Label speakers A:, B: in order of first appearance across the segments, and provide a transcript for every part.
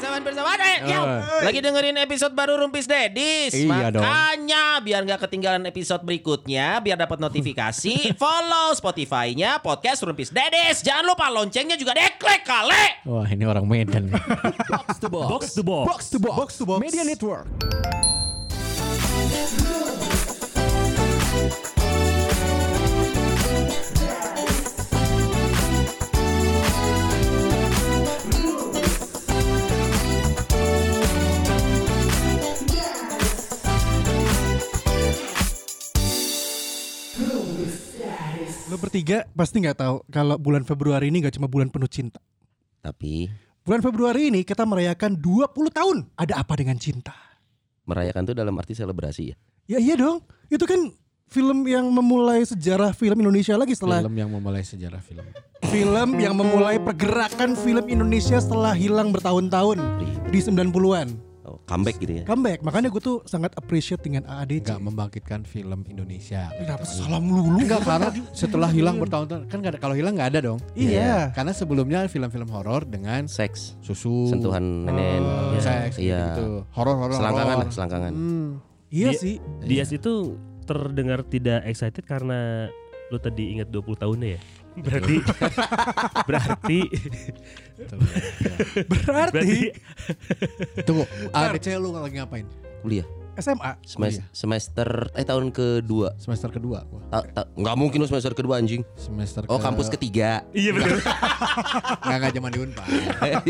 A: Persamaan persamaan eh, ya.
B: Oh.
A: Lagi dengerin episode baru Rumpis Dedis.
B: Iya dong.
A: Makanya biar nggak ketinggalan episode berikutnya, biar dapat notifikasi, follow Spotify-nya podcast Rumpis Dedis. Jangan lupa loncengnya juga deklek kali.
B: Wah ini orang Medan. nih.
C: Box to box.
D: Box to box. to box. Media Network. Lo bertiga pasti nggak tahu kalau bulan Februari ini nggak cuma bulan penuh cinta.
E: Tapi
D: Bulan Februari ini kita merayakan 20 tahun. Ada apa dengan cinta?
E: merayakan tuh dalam arti selebrasi ya.
D: Ya iya dong. Itu kan film yang memulai sejarah film Indonesia lagi setelah
B: film yang memulai sejarah film.
D: film yang memulai pergerakan film Indonesia setelah hilang bertahun-tahun
C: Iya.
D: di 90-an.
E: Oh, comeback gitu ya.
D: Comeback. Makanya gue tuh sangat appreciate dengan AADC.
B: Enggak membangkitkan film Indonesia.
D: Kenapa salam lulu?
C: Iya.
B: Enggak karena setelah hilang bertahun-tahun kan nggak ada- kalau hilang nggak ada dong.
D: Iya.
B: Karena sebelumnya film-film horor dengan
E: Seks,
B: susu,
E: sentuhan nenen, ya.
B: Oh. seks,
E: iya.
B: gitu. Horor-horor.
E: Selangkangan lah,
B: horor.
E: selangkangan.
B: Hmm.
D: Iya
C: Dia-
D: sih.
C: Dias itu terdengar tidak excited karena lu tadi ingat 20 tahunnya ya. Berarti berarti berarti
D: Berarti
B: Tunggu, ADC lu lagi ngapain?
E: Kuliah,
D: SMA.
E: semes-
B: Kuliah.
E: semester eh tahun kedua.
B: Semester kedua gua.
E: Ta- ta- nggak mungkin lu semester kedua anjing.
B: Semester
E: Oh, kampus ketiga.
C: iya benar.
B: Enggak enggak zaman di Unpad.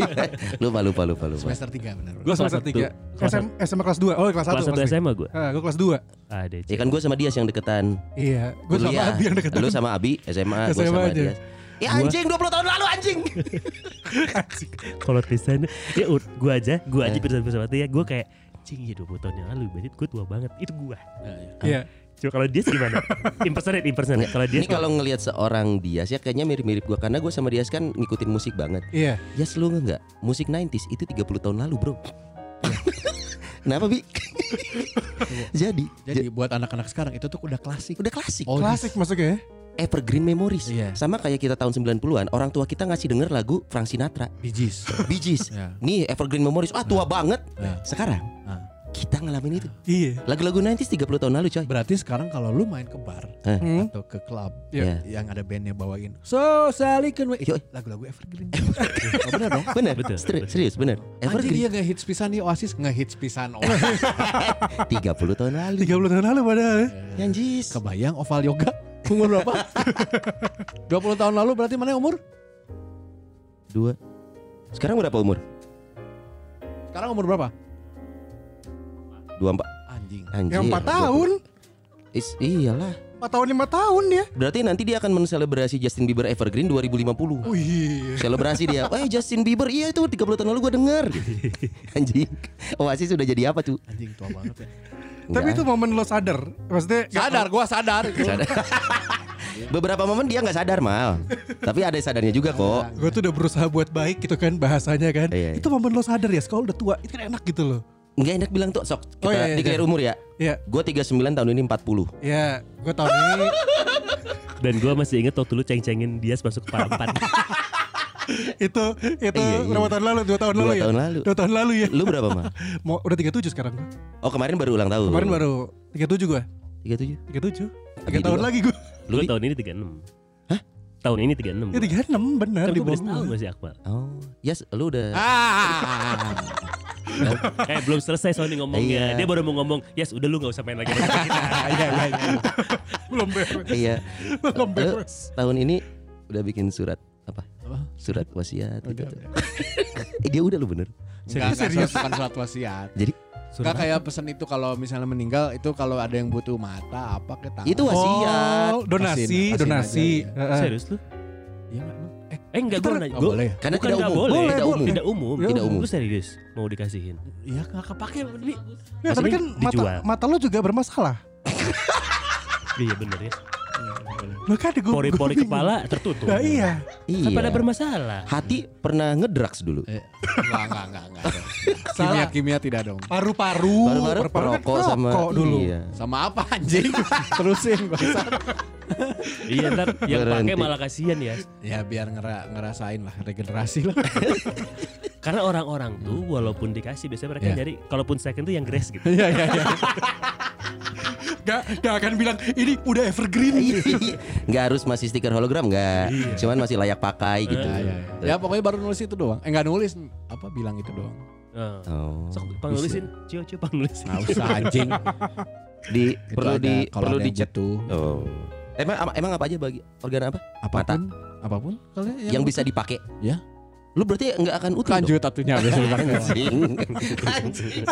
E: lupa lupa lupa lupa.
B: Semester tiga benar.
D: Gue semester
C: satu.
D: 3.
C: Kelas
D: SM, SMA kelas 2. Oh kelas 1.
C: Kelas 1 SMA gue.
D: Ah, gue kelas 2.
C: Ada.
E: Ya kan gue sama dia yang deketan.
D: Iya. Gue sama
E: Kuliah.
D: Abi yang deket
E: Lu sama Abi SMA, gue
D: SMA
E: sama
D: aja.
E: dia. Ya anjing 20 tahun lalu anjing.
C: Kalau Tristan ya ut- gua aja, gua aja Tristan bersama ya, gua kayak cing ya 20 tahun yang lalu berarti gue tua banget. Itu gua.
D: Iya.
C: Coba kalau dia gimana? impersonate, impersonate. Kalau dia
E: Ini kalau ngelihat seorang Dias ya kayaknya mirip-mirip gua karena gue sama Dias kan ngikutin musik banget.
D: Iya.
E: Dias lu enggak? Musik 90s itu 30 tahun lalu, Bro. Kenapa, Bi? Jadi,
B: Jadi buat anak-anak sekarang itu tuh udah klasik.
E: udah klasik.
B: Oh,
D: Klasik masuknya ya.
E: Evergreen memories.
B: Iya.
E: Sama kayak kita tahun 90-an, orang tua kita ngasih denger lagu Frank Sinatra,
B: bijis.
E: Bee Gees.
B: Ya.
E: Nih, evergreen memories. Ah, tua banget.
B: Ya.
E: Sekarang
B: Ah.
E: kita ngalamin itu.
D: Iya.
E: Lagu-lagu 90s 30 tahun lalu, coy.
B: Berarti sekarang kalau lu main ke bar
E: Eh.
D: Hmm.
B: atau ke klub
E: Iya.
B: yang ada bandnya bawain So Salikan Itu
E: Yoi.
B: lagu-lagu evergreen. oh, bener dong.
E: Bener,
C: Betul,
E: Seri-
C: betul.
E: serius bener.
B: Anjing dia
E: Evergreen
B: iya, ngehits pisan nih Oasis ngehits pisan Oh, Oasis.
E: 30 tahun lalu.
D: 30 tahun lalu padahal. ya.
E: Yanjis.
B: Kebayang oval yoga umur berapa? 20 tahun lalu berarti mana umur?
E: Dua. Sekarang berapa umur?
B: Sekarang umur berapa?
E: 24.
B: Anjing.
E: Anjir.
D: Yang 4 tahun.
E: Is, iyalah.
D: 4 tahun 5 tahun ya. dia.
E: Berarti nanti dia akan menselebrasi Justin Bieber Evergreen 2050.
D: Wih.
E: Selebrasi dia. Eh Justin Bieber iya itu 30 tahun lalu gua denger. Anjing. Oasis sudah jadi apa tuh?
B: Anjing tua banget ya.
D: Tapi
E: Iya.
D: itu momen lo sadar. Maksudnya nggak-
B: Sadar gua sadar.
E: Sadar. Beberapa momen dia nggak sadar mal. Tapi ada sadarnya juga kok.
D: Gue tuh udah berusaha buat baik gitu kan bahasanya kan.
E: Iya, iya.
D: Itu momen lo sadar ya sekolah udah tua. Itu kan enak gitu loh.
E: Nggak enak bilang tuh sok. Kita
D: Oh, iya, iya,
E: declare
D: iya.
E: umur ya.
D: Ya,
E: Gua 39 tahun ini 40.
D: ya gue tahun ini
C: dan gua masih inget waktu lu ceng-cengin dia masuk kepala empat.
D: itu itu
E: Iya, iya.
D: berapa tahun lalu? Dua tahun
E: Dua
D: lalu ya.
E: tahun lalu.
D: Dua tahun lalu ya.
E: Lu berapa mal?
D: Mau udah 37 sekarang gue.
E: Oh kemarin baru ulang tahun.
D: Kemarin baru 37 gue.
E: 37.
D: 37.
E: Tapi
D: 3 tahun
E: dua.
D: lagi gue.
E: Lu
C: Lu
E: Di?
C: tahun ini 36. Hah? Tahun ini 36.
D: Ya 36 benar
C: Kan
D: di
C: gua udah
D: bawah.
C: setahun
D: gua.
C: masih Akmal.
E: Oh, yes, lu udah.
B: Ah.
C: Kayak Eh, belum selesai Sony ngomongnya.
E: Iya.
C: Dia baru mau ngomong, "Yes, udah lu nggak usah main lagi." sama kita."
B: Iya iya iya.
D: Belum beres.
E: Iya.
D: Belum
E: Lu
D: beres.
E: tahun ini udah bikin surat apa?
B: Apa?
E: Surat wasiat gitu.
B: Udah,
E: tuh. eh dia udah lu bener.
B: Enggak,
D: Serius?
B: serius bukan surat wasiat.
E: Jadi
C: Surat
B: Enggak kayak pesan itu kalau misalnya meninggal itu kalau ada yang butuh mata apa ke tangan.
E: itu wasiat.
D: Oh, donasi,
B: Kasihin, kasihin
D: donasi.
B: aja,
D: Heeh.
C: serius lu?
B: Iya enggak emang? Eh,
C: Eh enggak gua
D: Kita-
C: nanya.
B: nggak
C: Gua-
B: boleh ya?
E: Karena
C: Bukan
E: tidak
C: nggak
E: umum.
C: boleh,
E: tidak
D: boleh.
E: umum.
C: Tidak umum.
E: Tidak umum.
C: Lu serius mau dikasihin?
B: Iya enggak kepake Bi.
D: Nggak, tapi
C: Maksudnya
D: kan mata,
C: dijual.
D: mata lo juga bermasalah.
C: Iya bener ya.
D: Lo kan gue
C: Pori-pori kepala tertutup.
D: Nah, iya.
E: Iya.
C: Kan pada bermasalah.
E: Hati pernah ngedrags dulu.
B: Eh, enggak enggak enggak enggak. dong.
D: Salah.
B: Kimia kimia tidak dong.
D: Paru-paru, kan
E: Baru-baru perokok sama
D: dulu.
E: Iya.
B: Sama apa anjing? Terusin bangsa.
C: Iya ntar yang pakai
E: Berhenti.
C: malah kasihan ya.
B: Ya biar ngera ngerasain lah regenerasi lah.
C: Karena orang-orang tuh walaupun dikasih biasanya mereka
B: Iya.
C: jadi kalaupun second tuh yang grace gitu.
B: Iya iya iya.
D: Gak, gak akan bilang ini udah evergreen.
E: nggak harus masih stiker hologram nggak
D: Iya.
E: cuman masih layak pakai gitu
D: Eh,
B: Iya, iya, iya. Ya pokoknya baru nulis itu doang. Eh nggak nulis apa bilang itu doang.
C: Heeh.
E: Oh.
C: Sok penulisin, cio cio penulisin.
B: Nggak usah anjing.
E: di
B: Itu
E: perlu
B: ada,
E: di
B: kalau
E: perlu
B: ada
E: di
B: yang butuh,
E: oh emang ama- emang apa aja bagi organ apa
B: apapun apapun kalian
E: yang, bisa dipakai
B: Ya.
E: lu berarti nggak akan utuh dong?
B: lanjut tatunya habis banget.
E: Anjing. Anjing.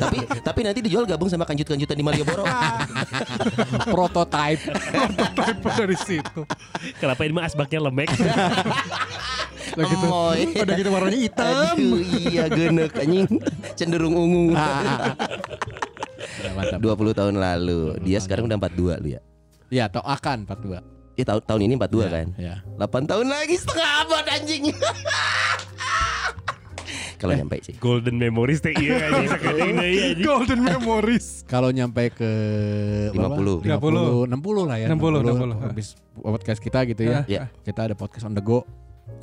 E: tapi tapi nanti dijual gabung sama kanjut-kanjutan di Malioboro.
D: Ah.
B: Prototype.
D: Prototipe dari situ.
C: Kenapa ini mah asbaknya lemek?
D: Udah gitu,
E: Emoy.
D: udah gitu warnanya hitam.
E: Aduh, iya genek anjing cenderung ungu.
D: Ah.
B: Ya, mantap.
E: 20 tahun lalu. Dia sekarang udah 42 lu ya.
B: Ya atau akan 42.
E: Ya tahun tahun ini 42
D: Iya.
E: kan.
B: Ya.
E: 8 tahun lagi setengah abad anjing. Kalau nyampe sih.
C: Golden memories teh iya anjing. Sakitnya ini, iya, anjing.
D: Golden Memories.
B: Kalau nyampe ke berapa?
E: 50.
B: 60
D: 50.
B: lah ya.
D: 60, 60.
B: Habis podcast kita gitu ya.
E: Ya.
B: Kita ada podcast on the go.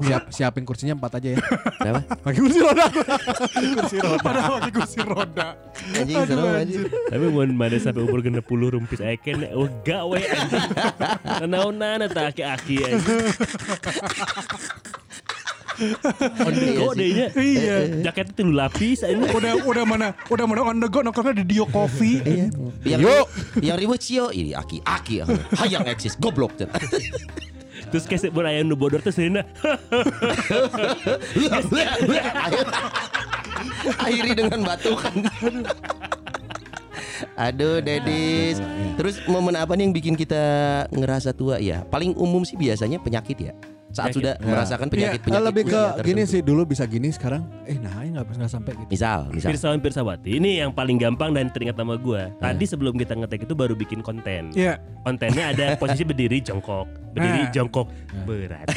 B: Siap, siapin kursinya empat aja ya.
E: Kenapa?
B: Pakai kursi roda.
D: Kursi roda. Padahal pakai kursi roda.
E: Anjing
D: Aduh,
E: seru
D: anjing.
E: anjing.
C: Tapi mun mana sampai umur genep puluh rumpis eken oh gawe anjing. Nanaonan eta aki-aki anjing. On
B: Iya
C: the go deh nya. Eh,
D: Iya.
C: Jaketnya tilu lapis anjing.
D: Udah udah mana udah mana on the go nongkrongnya di Dio Coffee.
E: Yang
B: Yuk.
E: yang ribut Cio ini aki-aki. Hayang eksis goblok.
C: Terus kayak mun aya nu bodor teh seunana.
E: Akhiri dengan batukan. Aduh, Dedis. Terus momen apa nih yang bikin kita ngerasa tua ya? Paling umum sih biasanya penyakit ya. Saat
C: Penyakit.
E: sudah merasakan penyakit penyakit.
B: Iya, lebih ke
E: usia
B: gini
E: tertentu.
B: sih dulu bisa gini sekarang. Eh nah nggak nggak sampai gitu.
E: Misal, misal.
C: Pirsawan Pirsawati ini yang paling gampang dan teringat sama gua.
B: Iya.
C: Tadi sebelum kita ngetek itu baru bikin konten.
D: Iya.
C: Kontennya ada posisi berdiri jongkok, berdiri
D: Nah.
C: jongkok berat.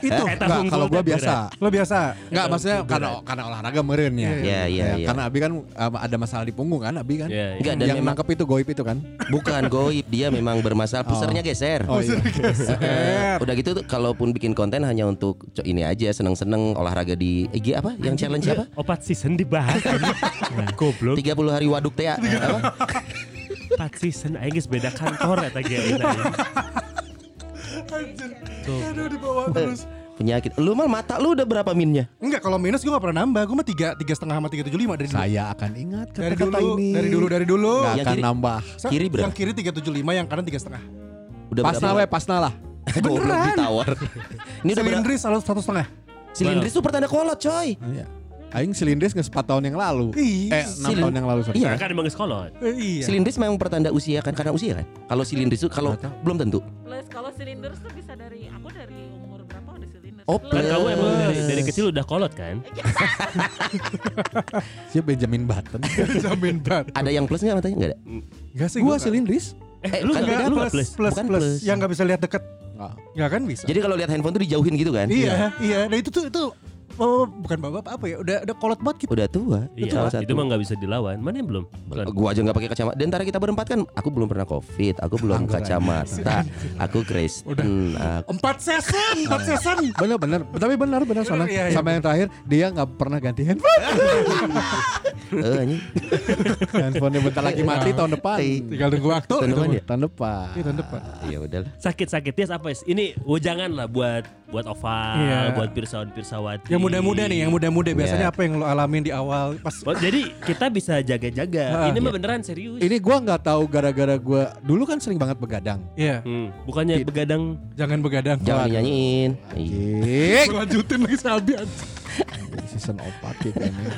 C: Eh,
D: Itu.
C: Eta
B: Nggak,
C: unggul
B: Iya. kalau gua
C: dan
B: biasa.
C: berat.
D: Lo biasa.
B: Enggak maksudnya karena karena olahraga meren ya.
E: Iya, iya,
B: Ya,
E: iya.
B: Karena Abi kan um, ada masalah di punggung kan Abi kan.
C: Iya, iya.
E: Enggak, dan
B: yang
E: memang-
B: nangkep itu goib itu kan.
E: Bukan goib, dia memang bermasalah pusernya geser.
B: Oh iya.
E: Eh, udah gitu tuh, kalaupun bikin konten hanya untuk co- ini aja seneng-seneng olahraga di IG apa? Yang challenge apa?
C: Opat Oh, season dibahas.
B: Iya.
C: Nah, Goblok.
E: 30 hari waduk teh ya. Apa?
C: Opat season aing geus beda kantor ya, eta ge. aing, aing.
D: Anjir. Aduh dibawa terus.
E: Penyakit. Eh, Lu mal mata lu udah berapa minnya?
D: Enggak kalau minus gue gak pernah nambah. Gue mah tiga tiga setengah sama tiga tujuh lima dari dulu.
B: Saya akan ingat
D: Dari
B: kata-kata
D: dulu,
B: ini.
D: dari dulu, dari dulu.
B: Nggak
E: Yang
B: akan
E: kiri.
B: nambah.
D: Sa-
E: Nah, kiri berapa?
D: Yang kiri 375, yang kanan tiga setengah.
E: Udah
B: Pasna we,
E: berapa?
B: pasna lah.
E: Goblok
D: Beneran.
E: ditawar. Ini udah berapa?
D: Silindris selalu satu setengah.
E: Silindris tuh pertanda kolot, coy.
B: Iya. Aing silindris nggak sepat tahun yang lalu. Eh,
D: Iya.
B: enam tahun yang lalu sorry.
E: Iya.
C: Kan emang sekolah.
D: Eh, iya.
E: Silindris memang pertanda usia kan karena usia kan. Kalau silindris tuh kalau belum tentu.
F: Plus kalau silinder tuh bisa dari aku dari umur berapa udah silinder.
E: Oh,
C: Kan
F: plus.
E: plus.
C: kamu emang dari, dari kecil udah kolot kan?
B: Siapa Benjamin Button?
D: Jamin banget.
E: Ada yang plus nggak matanya? Nggak ada.
D: Enggak sih.
B: Gua
D: nggak-
B: silindris.
E: Eh,
C: Eh, lu
E: kan
C: nggak-
E: beda
C: lu
D: plus, plus,
C: nggak plus.
D: plus,
E: Bukan plus.
D: Yang gak bisa lihat deket.
B: Nggak.
D: Enggak kan bisa.
E: Jadi kalau lihat handphone tuh dijauhin gitu kan?
D: iya, iya. Nah itu tuh itu oh, bukan bapak apa ya? Udah udah kolot banget gitu.
E: Udah tua.
C: Iya,
E: Salah
C: itu
E: satu.
C: mah nggak bisa dilawan. Mana yang belum? Bukan.
E: Gua aja nggak pakai kacamata. Di antara kita berempat kan, aku belum pernah covid, aku
B: Ah,
E: belum kacamata, aku Kristen, aku
D: Empat season,
E: Nah.
D: empat season.
B: Bener bener. Tapi bener bener soalnya
D: Iya, iya.
B: sama yang terakhir dia nggak pernah ganti handphone.
E: eh, anjing.
B: Handphonenya bentar lagi mati tahun depan.
D: Tinggal tunggu waktu.
E: Tahun depan ya?
B: Tahun depan.
D: Iya, tahun depan.
E: Ya udahlah.
C: Sakit-sakitnya apa sih? Ini wejangan lah buat buat oval,
D: Iya.
C: buat pirsawan pirsawati.
D: Yang muda-muda nih, yang muda-muda
E: Iya.
D: biasanya apa yang lo alamin di awal pas
C: Oh, Jadi kita bisa
D: Ah,
C: jaga-jaga.
D: iya.
C: Ini mah beneran serius.
B: Ini gua nggak tahu gara-gara gua dulu kan sering banget begadang.
D: Iya,
C: Hmm, bukannya begadang
D: jangan begadang.
E: Jangan dinyanyiin. Iya.
B: Cik.
D: Gua lanjutin lagi sabi
B: season opat ya kayaknya.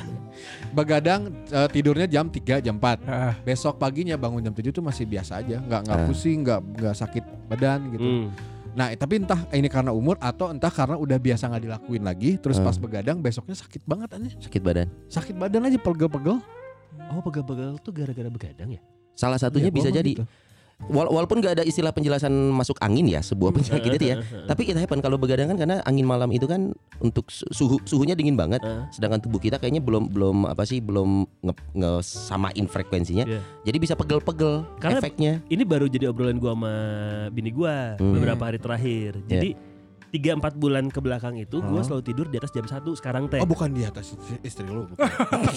B: Begadang eh, tidurnya jam 3 jam 4.
E: Nah.
D: Heeh.
B: Besok paginya bangun jam 7 tuh masih biasa aja, nggak nggak
E: Ah.
B: pusing, nggak nggak sakit badan gitu.
C: Hmm.
B: Nah, eh, tapi entah ini karena umur atau entah karena udah biasa nggak dilakuin lagi, terus
E: Ah.
B: pas begadang besoknya sakit banget aneh.
E: Sakit badan.
B: Sakit badan aja pegel-pegel.
C: Oh pegal-pegal tuh gara-gara begadang ya?
E: Salah satunya
B: Iya,
E: bisa
B: gua mah
E: jadi.
B: gitu.
E: Wala- walaupun gak ada istilah penjelasan masuk angin ya sebuah
C: Hmm.
E: penyakit
C: Ah,
E: itu ya. Tapi kita hepan kalau begadang kan karena angin malam itu kan untuk su- suhu suhunya dingin banget.
C: Heeh.
E: Sedangkan tubuh kita kayaknya belum belum apa sih belum nge- ngesamain frekuensinya.
C: Iya.
E: Jadi bisa pegel-pegel
C: Karena-
E: efeknya.
C: Ini baru jadi obrolan gua sama bini
E: Hmm.
C: gua
E: Iya.
C: beberapa hari terakhir. Jadi tiga empat bulan ke belakang itu gue selalu tidur di atas jam satu sekarang teh
B: Oh bukan di atas istri- istri lu. bukan.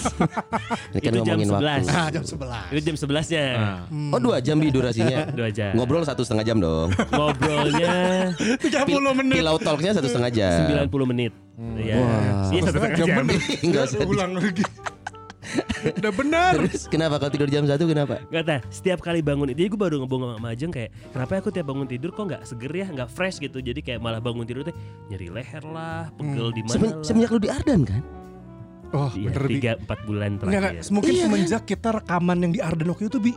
E: Ini kan
C: Itu jam
E: ngomongin waktu.
C: 11.
B: Ah, jam 11.
C: itu jam sebelasnya
D: Ah. Hmm.
E: Oh dua jam di durasinya.
C: Dua jam.
E: Ngobrol satu setengah jam dong.
C: ngobrolnya
D: 30 menit.
E: Pillow talknya satu setengah jam.
C: 90 menit Iya, Iya, satu setengah
D: Hmm. Jam
C: jam.
D: bener.
E: Nggak usah.
D: Ulang lagi. Udah benar.
E: Terus kenapa kalau tidur jam satu kenapa?
C: Gak tahu, setiap kali bangun itu, jadi gue baru ngebongong sama Ajeng kayak Kenapa ya aku tiap bangun tidur kok gak seger ya, gak fresh gitu Jadi kayak malah bangun tidur teh nyeri leher lah, pegel di mana
E: Semen-
C: lah
E: semenjak lu di Ardan kan?
D: Oh, Hmm.
C: Iya,
D: bener Bi.
C: tiga ya. empat bulan
D: Nggak, nggak.
C: terakhir
D: mungkin
E: Iya, kan?
D: semenjak kita rekaman yang di Arden waktu itu Bi